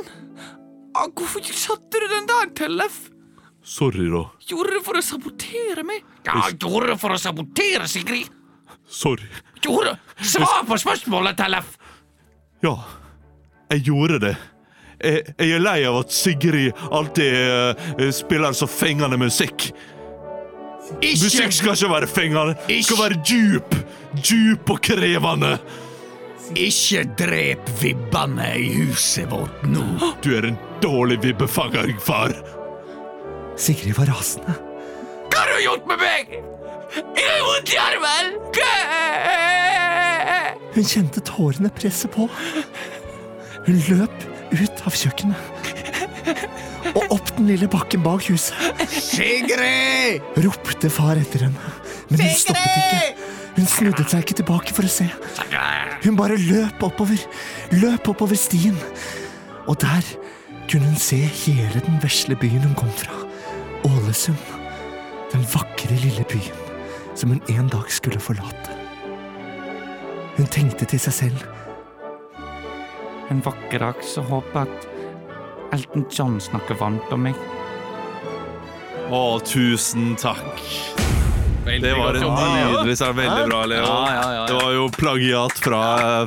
H: Au, hvorfor satte du den der, Tellef?
A: Sorry, da.
H: Gjorde du for å sabotere meg?
D: Ja, gjorde det for å sabotere, Sigrid.
A: Sorry.
D: Gjorde Svar på spørsmålet, Tellef.
A: Ja, jeg gjorde det. Jeg, jeg er lei av at Sigrid alltid eh, spiller så fengende musikk. Musikk skal ikke være fengende. Det skal være djup. Djup og krevende.
E: Ikke drep vibbene i huset vårt nå.
A: Du er en dårlig vibbefanger, far.
C: Sigrid var rasende.
D: Hva har du gjort med meg? Jeg har vondt i armen. Gø!
C: Hun kjente tårene presse på. Hun løp ut av kjøkkenet og opp den lille bakken bak huset.
E: Sigrid!
C: Ropte far etter henne, men hun stoppet ikke. Hun snudde seg ikke tilbake for å se. Hun bare løp oppover, løp oppover stien. Og der kunne hun se hele den vesle byen hun kom fra. Ålesund. Den vakre lille byen som hun en dag skulle forlate. Hun tenkte til seg selv
H: En vakker dag så håper jeg at Elton John snakker varmt om meg.
A: Å, tusen takk. Det var en nydelig sang. Veldig bra, Leo. Det var jo plagiat fra,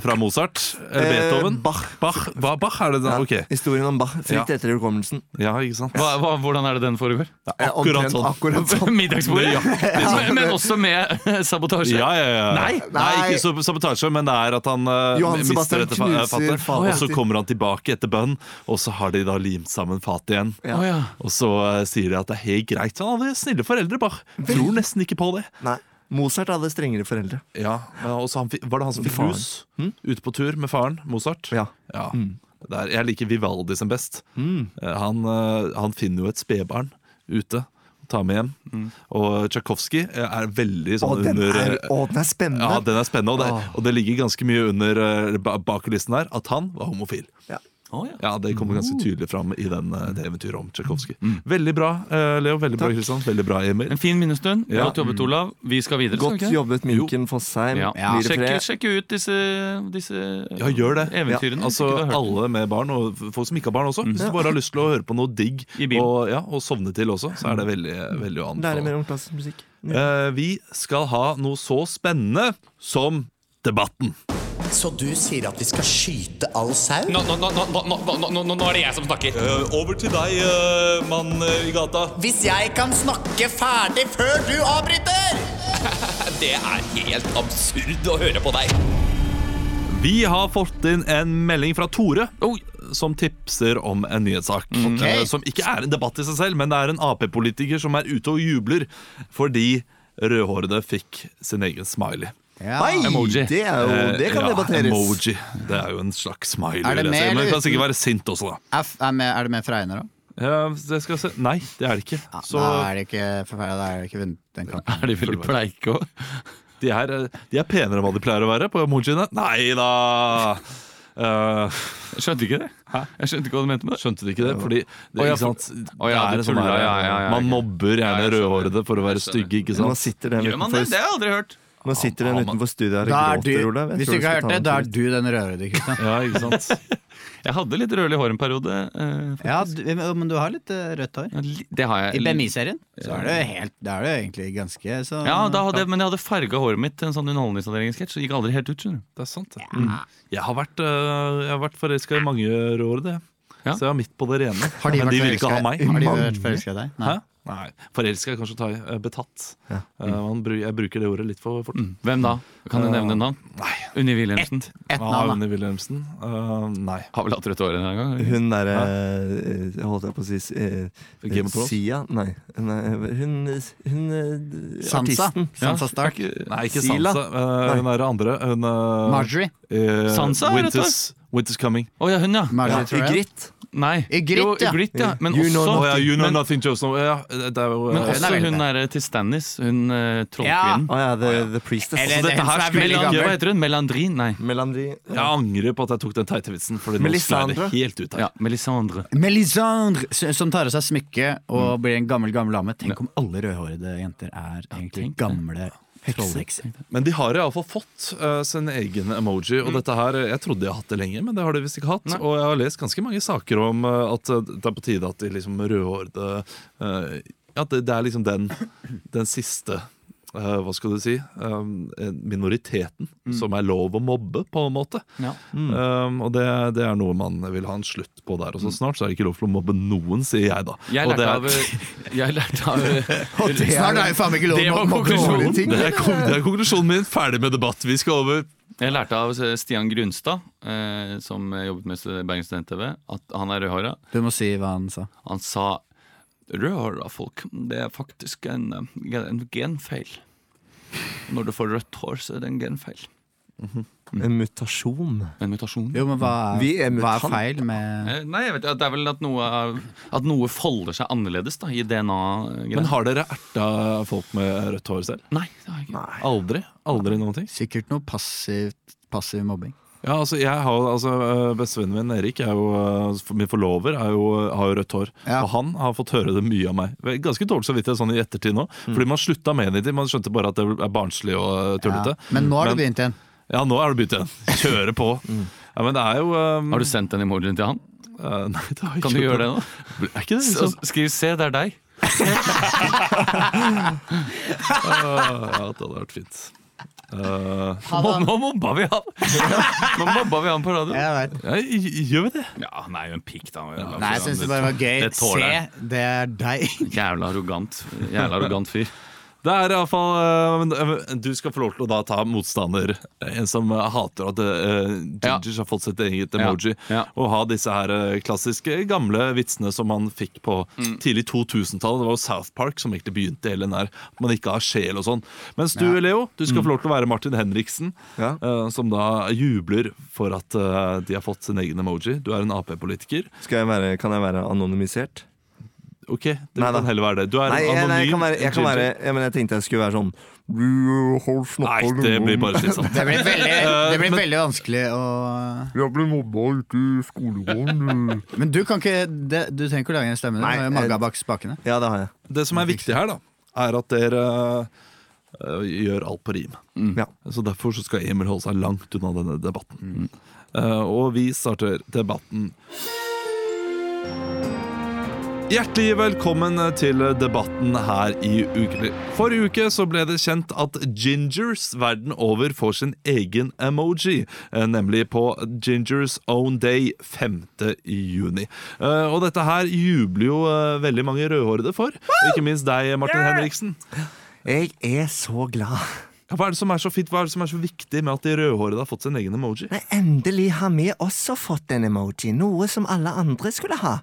A: fra Mozart. Eller
C: Eh,
A: Beethoven.
C: Bach.
A: Bach. Hva, Bach er det da? Ok.
C: Historien om Bach. Fritt
A: Ja.
C: etter hukommelsen.
A: Ja, ikke sant?
I: Hva, hva, hvordan er det den
D: <laughs>
I: foregår?
C: Eh,
A: akkurat
C: omtrent
A: sånn.
C: Akkurat sånn.
I: Middagsbordet? Men- Men også med
D: eh,
I: sabotasje?
A: Ja, ja, ja.
I: Nei.
A: ikke sab- sabotasje, men det er at han eh,
C: Johan
A: mister
C: Sebastian
A: dette fa- eh,
C: knuser
A: fatet.
C: fatet.
A: Og så kommer han tilbake etter bønn, og så har de da limt sammen fatet igjen.
I: Å ja.
A: Og så eh, sier de at det er helt greit. Han hadde snille foreldre, bare. Tror nesten ikke på det.
C: Nei.
I: Mozart hadde strengere foreldre.
A: Ja, og så han, fikk- Var det han som fikk
I: Faren.
A: hus ute på tur med faren, Mozart?
I: Ja.
A: Ja.
I: Mm.
A: Det er- jeg liker Vivaldi som best. Eh, Han, eh, han finner jo et spedbarn ute. Tar med hjem. Og Tsjajkovskij eh, er veldig sånn
I: Og Mm. den
A: under
I: er,
A: eh,
I: å, den er spennende!
A: Ja, den er spennende, og
I: Ah.
A: det, og det ligger ganske mye under eh, ba- bak kulissen her at han var homofil.
I: Ja. Mm.
A: ja. Det kommer ganske tydelig fram i den, eh, det eventyret om Tsjajkovskij. Veldig bra, eh, Leo. Veldig bra, Kristian. Veldig bra, Emil.
D: Mm. En fin minnestund.
A: Ja.
D: Godt jobbet, Olav. Vi skal videre. skal vi
I: Godt
D: ikke?
I: jobbet, Minken Fosheim.
D: Ja.
I: Blir det
D: Sjekk,
I: fred?
D: sjekk ut disse, disse eh,
A: Ja, gjør det.
D: eventyrene.
A: Altså,
D: hvis ikke du har hørt Mm.
A: alle med barn, og folk som ikke har barn også. Hvis du bare har lyst til å høre på noe digg
D: I bilen.
A: og, ja, og sovne til også, så er det veldig, veldig å
I: Mm. Lære
A: anbefale.
I: mer om klassisk musikk.
A: Eh, vi skal ha noe så spennende som Debatten.
E: Så du sier at vi skal skyte all sau?
J: Nå, nå, nå, nå, nå, nå, nå, nå, nå er det jeg som snakker.
A: Eh, over til deg, eh, mann i gata.
E: Hvis jeg kan snakke ferdig før du avbryter!
J: <laughs> Det er helt absurd å høre på deg.
A: Vi har fått inn en melding fra Tore som tipser om en nyhetssak. Eh, Som ikke er en debatt i seg selv, men det er en Ap-politiker som er ute og jubler fordi rødhårede fikk sin egen smiley.
I: Hei!
D: Emoji.
I: Det, er jo, det kan
A: Eh, ja,
I: debatteres.
A: Emoji. Det er jo en slags smiley.
B: Er det
A: vil jeg
B: med
A: si. Men
B: eller
A: det kan sikkert
B: uten?
A: være sint også, da.
B: F er, med, er det med fra Einar òg?
A: Ja, det skal jeg se. Nei, det er det ikke.
I: Ah,
A: Så
B: Da er det ikke, for- da er det ikke vunnet den kampen.
D: Er de veldig pleike òg?
A: de er, eh, de er penere enn hva de pleier å være på emojiene. Nei da! Eh,
D: Jeg skjønte ikke det. Jeg skjønte ikke hva du mente med det.
A: skjønte du ikke det? Fordi det,
D: Å, ja,
A: ikke sant?
D: å, ja,
A: det er
D: du
A: en sånn
D: tuller,
A: her,
D: ja, ja, ja,
A: Man
D: ok.
A: mobber gjerne
D: jeg skjønner.
A: rødhårede for å være stygge, ikke
I: Nå
A: sant?
I: sitter den
D: Gjør man det? Det
I: utenfor,
D: har jeg aldri hørt.
I: nå sitter den utenfor studioet her
B: Da
I: og
B: er du,
I: gråter, Olav. Jeg
B: hvis
I: tror
B: du ikke har
I: skal
B: hørt det,
I: ta
B: da
I: den
B: er du den rødhårede, Kristian.
A: Ja, ikke sant?
D: Jeg hadde litt rødlig hår en periode. eh,
B: Ja, du, men du har litt eh, rødt hår.
D: ja, li- Det har
B: I
D: jeg.
B: BMI-serien så er det helt Da er det egentlig ganske sånn- så
D: Ja, da hadde jeg, Men jeg hadde farga håret mitt til en sånn underholdningsavdelingssketsj. Så det gikk aldri helt ut. skjønner du
A: Det er sant, det. Mm. Jeg har vært, eh, jeg har vært forelska i mange rødhårede, jeg.
D: Ja.
A: Så jeg var midt på det rene.
B: Har de
A: Men
B: vært
A: de vil ikke ha
B: forelska-
A: meg.
B: Har de vært forelska i deg?
A: Hæ? Nei. Forelska er kanskje å ta i. eh, Betatt. Eh,
B: Mm.
A: man bru- jeg bruker det ordet litt for fort.
D: Hvem da? Kan du nevne en navn?
A: Nei.
D: Unni Wilhelmsen.
B: Ett
A: Ah,
B: navn, da.
A: Unni Wilhelmsen? Eh, nei.
D: Har vel hatt rødt hår en gang? eller?
I: Hun derre Holdt jeg på å si eh,
A: Game of Thrones?
I: Sia? Nei. nei hun, hun eh,
B: Sansa.
I: Artisten.
B: Sansa Stark.
A: Nei, ikke
I: Sila?
A: Sansa. Eh, hun er det andre. Hun eh,
B: Marjorie.
A: eh,
D: Sansa er rett
A: Winters, Winters Coming.
D: Å ja, hun, ja.
B: Marjorie
I: Ja,
B: Tyrell.
I: Ygritte.
D: Nei.
B: Ygritte,
D: Jo,
B: ja.
D: Ygritte, ja. Men
I: You know
D: også,
A: Oh, ja, you know
D: men,
A: nothing, Joseph. Ja, det er jo, eh,
D: men
B: Hun
D: også
B: er veldig
D: hun er til Stannis. Hun eh, trollkvinnen.
I: Å ja, the, the Priestess.
D: Altså,
B: Eller-
A: dette
B: hun
A: her
B: som er
A: skulle
B: veldig
A: ikke-
D: Melan-
B: gammel.
D: Hva heter hun? Melandrin? Nei.
I: Melandri.
A: Jeg angrer på at jeg tok den teite vitsen, for nå sklei det
I: Melisandre.
A: helt ut her.
D: Ja, Melisandre.
B: Melisandre, s- som tar av seg smykket og blir en gammel, gammel dame. Tenk om alle rødhårede jenter er egentlig
D: tenk det.
B: gamle trollhekser.
A: Men de har iallfall fått eh, sin egen emoji. Og dette her, eh, Jeg trodde jeg hadde hatt det lenge, men det har de visst ikke hatt. Og jeg har lest ganske mange saker om eh, at eh, det er på tide at de liksom rødhårede eh, At det, det er liksom den, den siste eh, hva skal du si um, minoriteten som er lov å mobbe, på en måte.
D: Ja.
A: Um, og det, det er noe man vil ha en slutt på der. Og så snart så er det ikke lov til å mobbe noen, sier Mm. jeg da.
D: Jeg
A: og det
D: lærte
A: er-
D: av, eh, jeg lærte av eh,
B: Snart er jo faen meg ikke lov
D: Det var
B: å mobbe
D: konklusjonen.
B: dårlige ting.
A: Det er, kon- det er konklusjonen min. Ferdig med debatt. Vi skal over.
D: Jeg lærte av Stian Grunstad, eh, som jobbet med Bergen Student-TV, at han er rødhåra.
B: Du må si hva han sa.
D: Han sa rødhåra folk, det er faktisk en, eh, en genfeil. Når du får rødt hår, så er det en genfeil.
A: Mm.
I: En mutasjon.
D: En mutasjon.
B: Jo, men hva
I: Vi er
B: er, hva er
I: mutant.
B: feil med
D: Eh, Nei, jeg vet, ikke, det er vel at noe, er- at noe folder seg annerledes da, i
A: Men
D: DNA-greier.
A: har dere erta folk med rødt hår selv?
D: Nei, det har jeg ikke.
A: Aldri. Aldri noen ting.
B: Sikkert noe passivt, passiv mobbing.
A: Ja, altså, jeg har, jo- altså øh, Bestevennen min Erik, er jo, øh, min forlover, er jo, øh, har jo rødt hår.
B: Ja.
A: Og han har fått høre det mye av meg. Ganske dårlig samvittighet sånn i ettertid nå. Fordi man slutta med det. Man skjønte bare at det er barnslig og øh,
B: Ja.
A: tullete.
B: Men nå har du
A: Men-
B: begynt igjen.
A: Ja, nå er det begynt igjen. Kjøre på. Ja, men det er jo øh,
D: Har du sendt den emojien til han?
A: øh, <laughs> Nei, det Mm. har jeg
D: Kan
A: ikke
D: du
A: gjort.
D: gjøre det nå? <laughs>
A: Er ikke det
D: Så,
A: liksom
D: skriv 'se, det er deg'.
A: Ja, det hadde vært fint. Øh,
D: Eh, Nå, nå mobba vi han! Nå mobba vi han på radio.
B: Jeg vet.
A: ja, gjør vi det?
D: Ja, han er jo en pikk, da.
B: Nei, jeg syns det bare var gøy.
D: Det tåler
B: Se,
D: jeg.
B: det er deg.
D: Jævla arrogant. Jævla arrogant fyr.
A: Det er iallfall eh, Du skal få lov til å da ta motstander. En som eh, hater at uh, Gingers har fått sitt eget
D: Ja,
A: emoji. Og ha disse her eh, klassiske gamle vitsene som man fikk på
D: Mm.
A: tidlig 2000-tallet. Det var jo South Park som egentlig begynte hele den der. At man ikke har sjel og sånn. Mens du, Leo, du skal
D: Mm.
A: få lov til å være Martin Henriksen. eh, som da jubler for at eh, de har fått sin egen emoji. Du er en Ap-politiker.
I: Skal jeg være, kan jeg være anonymisert?
A: Ok, det
I: Neida.
A: kan heller være det. Du er
I: nei,
A: en
I: jeg-
A: anonym
I: nei, jeg kan være, jeg, kan
A: ginger.
I: være, ja, men jeg tenkte jeg skulle være sånn «Du har snakket
A: Nei, det
I: om-
A: blir bare slitsomt.
B: <laughs> Det blir veldig, det blir
A: Eh, men-
B: veldig vanskelig å
I: Jeg ble mobba ute i skolegården.
B: Men du kan ikke det, Du trenger ikke å lage en stemme. Du
A: Nei,
B: har jo manga bak spakene.
I: <laughs> Ja, det har jeg.
A: Det som er viktig her, da, er at dere øh, gjør alt på rim. Så Derfor så skal Emil holde seg langt unna denne debatten. Eh, og vi starter debatten. Hjertelig velkommen til debatten her i Ukentlig. Forrige uke så ble det kjent at Gingers verden over får sin egen emoji, eh, nemlig på Gingers Own Day 5. juni. Eh, Og dette her jubler jo eh, veldig mange rødhårede for, og ikke minst deg, Martin Henriksen.
I: Jeg er så glad.
A: Ja, Hva er det som er så fint, hva er det som er så viktig med at de rødhårede har fått sin egen emoji?
I: Endelig har vi også fått en emoji, noe som alle andre skulle ha.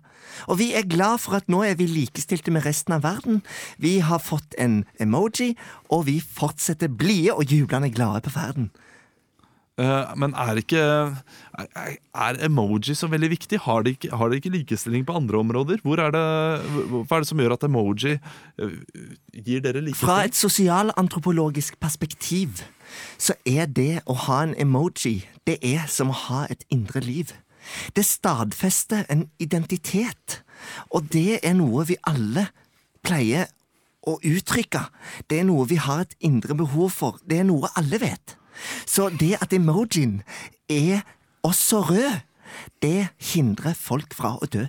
I: Og vi er glad for at nå er vi likestilte med resten av verden. Vi har fått en emoji, og vi fortsetter blide og jublende glade på ferden.
A: Eh, Men er ikke er- er, er emoji så veldig viktig? Har de, ikke, har de ikke likestilling på andre områder? Hvor er det, hva er det som gjør at emoji eh, gir dere likestilling?
I: Fra et sosialantropologisk perspektiv så er det å ha en emoji, det er som å ha et indre liv. Det stadfester en identitet, og det er noe vi alle pleier å uttrykke. Det er noe vi har et indre behov for. Det er noe alle vet. Så det at emojien er også rød, det hindrer folk fra å dø.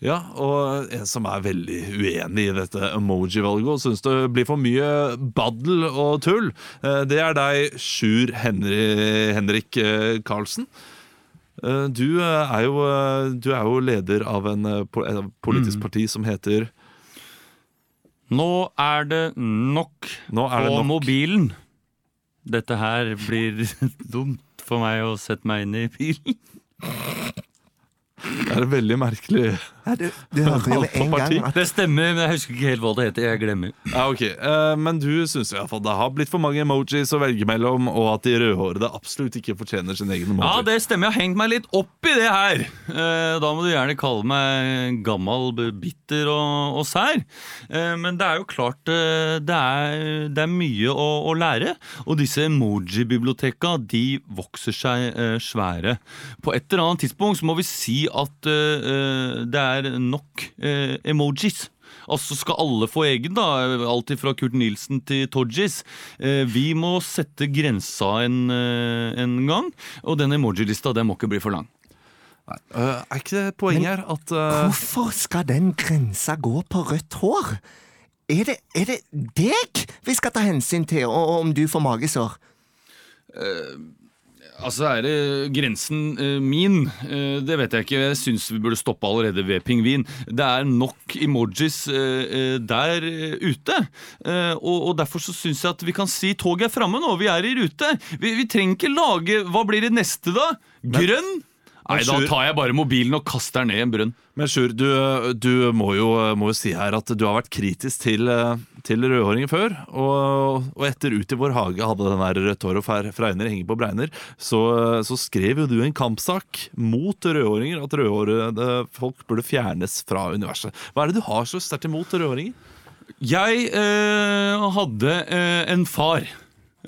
A: Ja, og en som er veldig uenig i dette emoji-valget og syns det blir for mye baddel og tull, eh, det er deg, Sjur Henri, Henrik eh, Karlsen. Eh, Du eh, er jo, eh, du er jo leder av en eh, po- eh,
D: Mm.
A: politisk parti som heter
D: Nå er det nok
A: er det
D: på
A: nok.
D: mobilen. Dette her blir <laughs> dumt for meg å sette meg inn i bilen.
A: Det er veldig merkelig.
I: Ja, du- du hørte jo med en gang at-
D: Det stemmer, men jeg husker ikke helt hva det heter. Jeg glemmer.
A: Ja, ok. Eh, Men du syns iallfall det har blitt for mange emojis å velge mellom, og at de rødhårede absolutt ikke fortjener sin egen emoji.
D: Ja, det stemmer. Jeg har hengt meg litt opp i det her. Eh, da må du gjerne kalle meg gammel, b- bitter og, og sær. Eh, men det er jo klart eh, det, er, det er mye å, å lære. Og disse emoji-biblioteka de vokser seg eh, svære. På et eller annet tidspunkt så må vi si at eh, eh, det er nok eh, emojis. Altså skal alle få egen, da. Alt fra Kurt Nilsen til Todgies. Eh, vi må sette grensa en, eh, en gang. Og den emoji-lista den må ikke bli for lang.
A: Eh, er ikke det poenget her at eh,
I: Hvorfor skal den grensa gå på rødt hår? Er det, er det deg vi skal ta hensyn til, og, og om du får magesår?
D: altså er det grensen eh, min? Eh, det vet jeg ikke. Jeg syns vi burde stoppe allerede ved pingvin. Det er nok emojis eh, eh, der eh, ute. Eh, og, og derfor så syns jeg at vi kan si toget er framme nå. Vi er i rute. Vi, vi trenger ikke lage Hva blir det neste, da? Grønn? Nei, da tar jeg bare mobilen og kaster den ned i en brønn.
A: Men Sjur, du, du må, jo, må jo si her at du har vært kritisk til, eh, til rødhåringer før. Og, og etter Ut i vår hage hadde den der rødt hår og fer- fregner henge på bregner, så, så skrev jo du en kampsak mot rødhåringer. At rødhårede folk burde fjernes fra universet. Hva er det du har så sterkt imot rødhåringer?
D: Jeg eh, hadde eh, en far.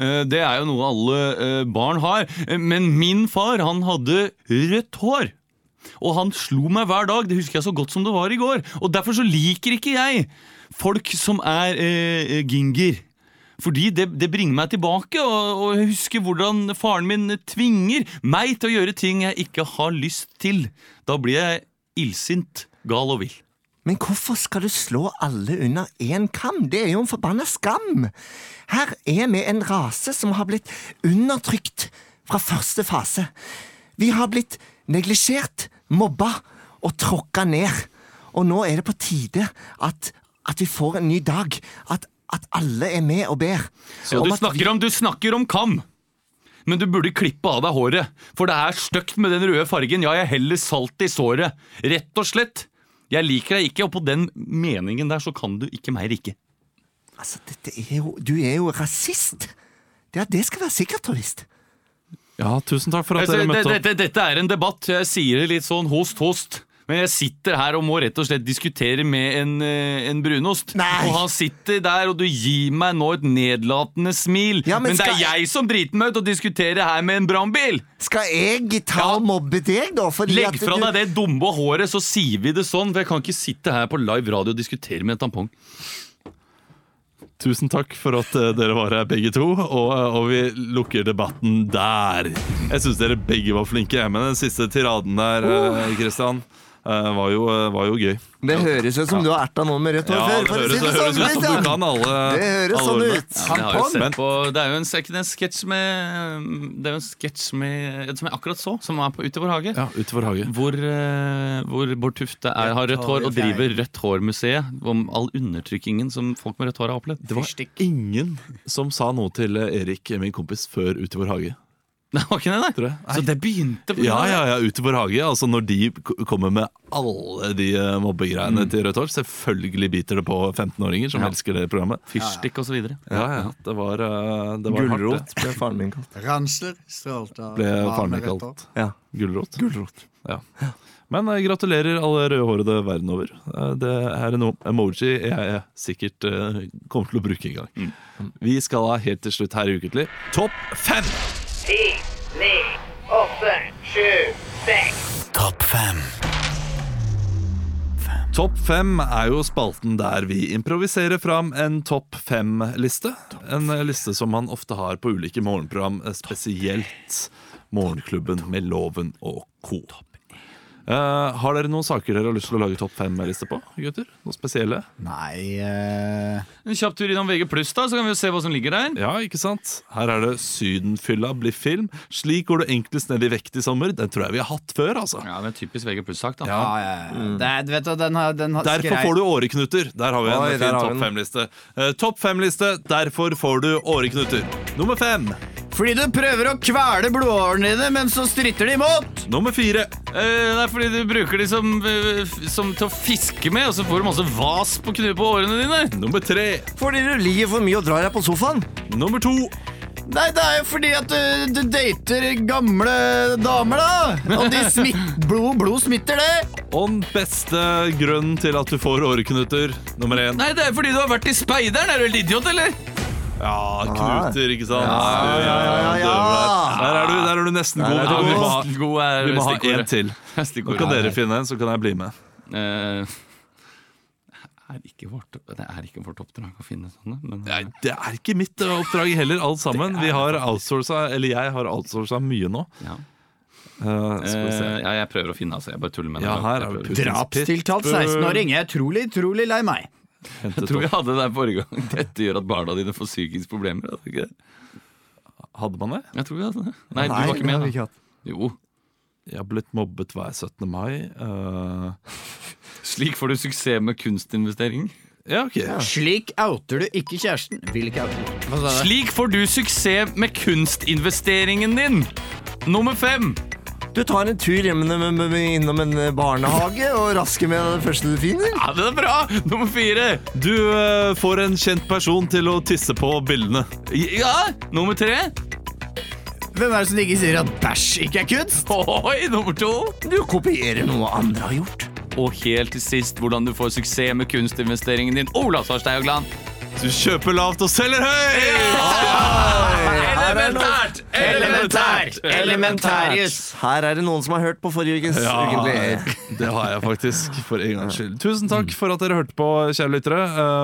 D: Eh, det er jo noe alle eh, barn har. Eh, Men min far, han hadde rødt hår. Og han slo meg hver dag. Det husker jeg så godt som det var i går. Og derfor så liker ikke jeg folk som er eh, ginger. Fordi det, det bringer meg tilbake, og, og jeg husker hvordan faren min tvinger meg til å gjøre ting jeg ikke har lyst til. Da blir jeg illsint, gal og vill.
I: Men hvorfor skal du slå alle under én kam? Det er jo en forbanna skam! Her er vi en rase som har blitt undertrykt fra første fase. Vi har blitt neglisjert, mobba og tråkka ned. Og nå er det på tide at, at vi får en ny dag. At at alle er med og ber.
D: Så du snakker, om, du snakker om kam, men du burde klippe av deg håret. For det er stygt med den røde fargen. Ja, jeg heller salt i såret. Rett og slett. Jeg liker deg ikke, og på den meningen der så kan du ikke meg rike.
I: Altså, dette er jo, du er jo rasist! Det, det skal være sikkert, Torist.
A: Ja, tusen takk for at
D: Altså,
A: dere
D: det-
A: møtte opp.
D: Dette, dette er en debatt. Jeg sier det litt sånn host, host. Men jeg sitter her og må rett og slett diskutere med en, eh, en brunost. Og han sitter der, og du gir meg nå et nedlatende smil. men,
I: men
D: det er
I: skal-
D: jeg som driter meg ut og diskuterer her med en brannbil!
I: Skal jeg ta og mobbe deg, da? Fordi
D: Legg
I: at
D: fra
I: du-
D: deg det dumme håret, så sier vi det sånn. For jeg kan ikke sitte her på live radio og diskutere med en tampong.
A: Tusen takk for at eh, dere var her, begge to. Og, eh, og vi lukker debatten der. Jeg syns dere begge var flinke, jeg, men den siste tiraden der,
I: Uh.
A: eh, Christian, eh, var, jo, eh, var jo gøy.
I: Det høres ut som du har erta noen med rødt hår
A: Ja,
I: før.
A: det
I: for å
A: høres-
I: si
A: det høres ut som
I: sånn, Christian.
A: du kan alle-
I: Det høres
A: Eh, alle
I: sånn
A: ordene.
I: ut.
D: Ja, men jeg har jo
I: Tampong.
D: sett på, det er jo en, sek- en sketsj med Det er jo en sketsj med som jeg akkurat så, som er på Ute i vår hage.
A: Ute for hage.
D: Hvor, eh, hvor Bård Tufte er, har rødt hår og driver Rødt hår-museet. Om all undertrykkingen som folk med rødt hår har opplevd.
A: Det var ingen som sa noe til eh, Erik, min kompis, før Ut i vår hage.
D: Det <laughs> var ikke det, nei. Så det begynte på
A: Ja, ja, ja, Ut i vår hage. Altså når de k- kommer med alle de eh, mobbegreiene til Rødt Hår, selvfølgelig biter det på 15-åringer som
D: Mm. Ja.
A: elsker det programmet.
D: Fyrstikk osv.
A: Ja, ja, det var, eh, det var hardt.
I: Gulrot
A: det.
I: ble faren min kalt.
B: Ransler strålte av
A: Ble faren
B: varme
A: min
B: rødt hår.
A: kalt
I: Ja.
A: gulrot.
I: Gulrot.
A: Ja. Men eh, gratulerer alle rødhårede verden over. Eh, det er en o- emoji jeg sikkert eh, kommer til å bruke en gang.
I: Mm.
A: Vi skal ha helt til slutt her i Ukentlig Topp fem!
E: Ti, ni, åtte, sju, seks.
A: Topp fem. Topp fem er jo spalten der vi improviserer fram en topp fem-liste. En eh, liste som man ofte har på ulike morgenprogram, eh, spesielt Morgenklubben med Loven og co. Eh, har dere noen saker dere har lyst til å lage topp fem-liste på? gutter? Noe spesielle?
B: Nei eh,
D: En kjapp tur innom VG+, da, så kan vi jo se hva som ligger der.
A: Ja, ikke sant? Her er det 'Sydenfylla blir film'. Slik går du enklest ned i vekt i sommer. Den tror jeg vi har hatt før, altså.
D: Ja, men Typisk VG sak da.
B: Ja, ja, ja. Det er, du vet du, den har, den har
A: Derfor får du åreknuter. Der har vi en
I: Oi, der
A: fin
I: har vi
A: topp
I: den.
A: fem-liste. Eh, topp fem-liste, derfor får du åreknuter. Nummer fem.
B: Fordi du prøver å kvele blodårene dine, men så stritter de imot!
A: Nummer fire.
D: Eh, det er fordi du bruker de som, eh, f- som til å fiske med, og så får du masse vas på, knu på årene dine.
A: Nummer tre.
I: Fordi du ligger for mye og drar deg på sofaen.
A: Nummer to.
B: Nei, det er jo fordi at du, du dater gamle damer, da! <laughs> Og de smitt, blod, blod smitter, det!
A: Og den beste grunnen til at du får åreknuter. Nummer én.
D: Nei, det er fordi du har vært i speideren. Er du helt idiot, eller?
A: Ja, knuter, ikke sant?
I: Ja, ja, ja, ja, ja.
A: Du, eh, døver Der Der er du, der er du nesten god.
D: er du
A: Ja, vi må ha-
D: nesten god, er
A: Vi må ha
D: stikkordet.
A: en til. Nå kan dere finne en, så kan jeg bli med.
D: Eh, er ikke vårt, det er ikke vårt oppdrag å finne sånne. Men,
A: Nei, det er ikke mitt eh, oppdrag heller, alt sammen. Vi har outsourca, eller jeg har outsourca mye nå.
D: Ja.
A: Eh, skal vi se.
D: Eh, ja, jeg prøver å finne, altså. Jeg bare tuller med
A: Ja,
D: Jeg
A: her er
D: prøver.
A: Putins
B: Drapstiltalt 16-åring. Jeg er utrolig, utrolig lei meg.
D: Jeg tror jeg hadde det der forrige gang. <laughs> Dette gjør at barna dine får psykingsproblemer. hadde det ikke det?
A: Hadde man det?
D: Jeg tror vi hadde det. Nei, du var
I: det
D: ikke
I: har
D: med,
I: vi
D: da.
I: ikke hatt.
D: Jo.
A: Jeg har blitt mobbet hver 17. mai. eh,
D: Slik får du suksess med kunstinvestering.
A: ja, ok.
B: Slik outer du ikke kjæresten. Vil ikke oute. Hva sa du?
D: <laughs> Slik får du suksess med kunstinvesteringen din! Nummer fem.
I: Du tar en tur hjem med, med, med, innom en eh, barnehage og rasker med det første du finner.
D: Ja, det er bra! Nummer fire.
A: Du eh, får en kjent person til å tisse på bildene.
D: Ja, nummer tre.
B: Hvem er det som ikke sier at bæsj ikke er kunst?
D: Oi, nummer to.
I: Du kopierer noe andre har gjort.
D: Og helt til sist hvordan du får suksess med kunstinvesteringen din. Ola Svarstad Haugland.
A: Du kjøper lavt og selger høyt!
D: Elementært!
B: Elementært! Elementarius!
I: Her er det noen som har hørt på forrige ukes
A: Ja, Mm.
I: ukentlig.
A: det har jeg faktisk, for en gangs skyld. Tusen takk for at dere hørte på, kjære lyttere.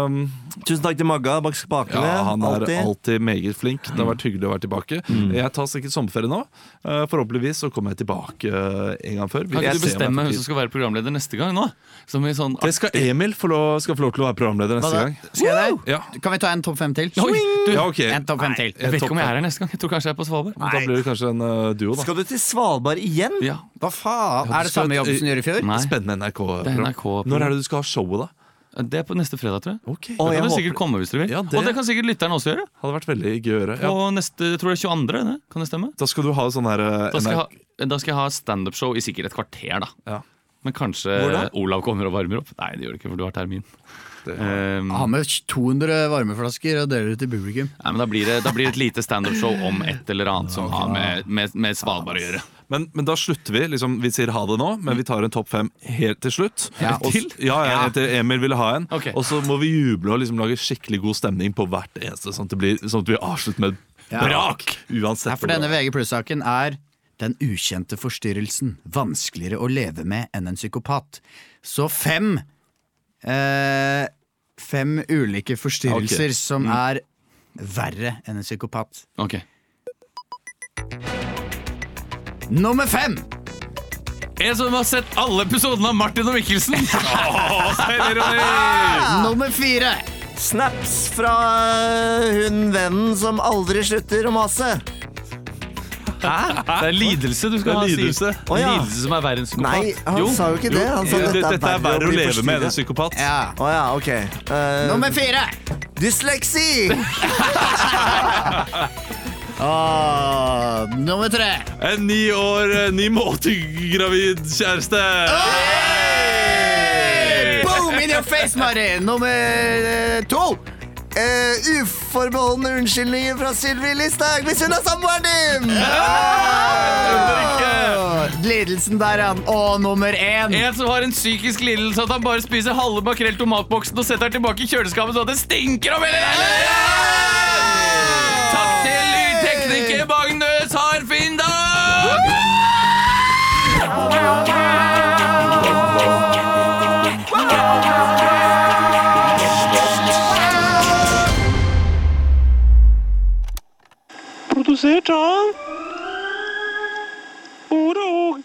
A: Um,
I: Tusen takk til Magga bak
A: ja,
I: spakene.
A: han er
I: alltid.
A: alltid Mm. meget flink. Det har vært hyggelig å være tilbake. Jeg tar sikkert sommerferie nå. Eh, forhåpentligvis så kommer jeg tilbake eh, en gang før. Vi får
D: Kan ikke du
A: se om jeg
D: bestemme
A: får
D: hvem
A: tid.
D: som skal være programleder neste gang? nå? Som i sånn
A: Det skal Emil få lov, skal få lov til å være
B: Hva
A: programleder neste
B: da?
A: gang.
B: Skal jeg der?
A: Ja,
B: Kan vi ta en topp fem til?
D: Oi, du,
A: ja ok.
B: En topp fem til.
D: Jeg vet ikke om jeg er her neste gang. Jeg tror kanskje jeg er på Svalbard.
A: Da blir det kanskje en eh, duo, da.
I: Skal du til Svalbard igjen?
D: Ja,
B: Hva faen?
A: Ja, du
B: Er det
A: skal-
B: samme jobb som du gjorde i fjor?
D: nei.
A: Spennende NRK.
D: Det er NRK-program.
A: Når er det du skal ha showet, da?
D: Det er på neste fredag, tror jeg.
A: Okay.
D: Det
A: jeg
D: kan du
A: håper-
D: sikkert komme hvis du vil.
A: det-
D: Og det kan sikkert lytterne også gjøre.
A: Hadde vært veldig gøy å gjøre.
D: På neste, jeg tror det er 22. Det. Kan det stemme?
A: Da skal du ha sånn her eh,
D: Da skal
A: NRK
D: jeg ha, da skal jeg ha standup-show i sikkert et kvarter, da. Men kanskje
B: Hvor da?
D: Olav kommer og varmer opp. Nei, det gjør det ikke, for du har termin. Um,
B: Ha med 200 varmeflasker og deler det til publikum.
D: Nei, men da blir det, da blir det et lite standup-show om et eller annet som har med, med, med Svalbard å gjøre.
A: Men, men da slutter vi. liksom Vi sier ha det nå, men vi tar en topp fem helt til slutt.
D: Ja.
A: Og s-
D: Til?
A: Ja, ja, etter Emil ville ha en.
D: Ok.
A: Og så må vi juble og liksom lage skikkelig god stemning på hvert eneste, sånn at, det blir, sånn at vi avslutter med
B: Ja.
A: brak! Uansett.
B: Nei, for denne VG pluss-saken er den ukjente forstyrrelsen. Vanskeligere å leve med enn en psykopat. Så fem eh, Fem ulike forstyrrelser
D: Ok.
B: som
D: Mm.
B: er verre enn en psykopat.
D: Ok.
B: Nummer fem!
D: En som har sett alle episodene av Martin og
C: <laughs>
D: Mikkelsen!
B: <laughs>
D: Ah.
B: Nummer fire.
C: Snaps fra hun vennen som aldri slutter å mase.
D: Hæ? Det er lidelse du skal ha,
C: Det er
D: Siv.
C: lidelse. Å, ja.
D: Lidelse som er verre enn psykopat.
C: Nei, han sa jo ikke det. Han
A: jo,
C: sa dette
A: det-
C: er
A: dette er
C: verre å
A: verre å
C: bli
A: leve med enn en
C: forstyrret.
A: psykopat.
B: Ja.
C: Å ja, ok. Eh,
B: Nummer fire.
C: <laughs> Dysleksi!
B: Ah, nummer tre.
A: En ni år, eh, ni måneder gravid kjæreste!
B: Boom in your face, Mari! Nummer eh, to.
C: Eh, uforbeholdne unnskyldninger fra Sylvi Listhaug hvis hun er samboeren din! Ah.
B: Åh, Lidelsen der, ja. Og nummer én.
K: En som har en psykisk lidelse at han bare spiser halve makrell tomatboksen og setter den tilbake i kjøleskapet så det stinker om hele leiligheten! Takk til lydtekniker Magnus Harfinn Dag!
L: Produsert av Ordet og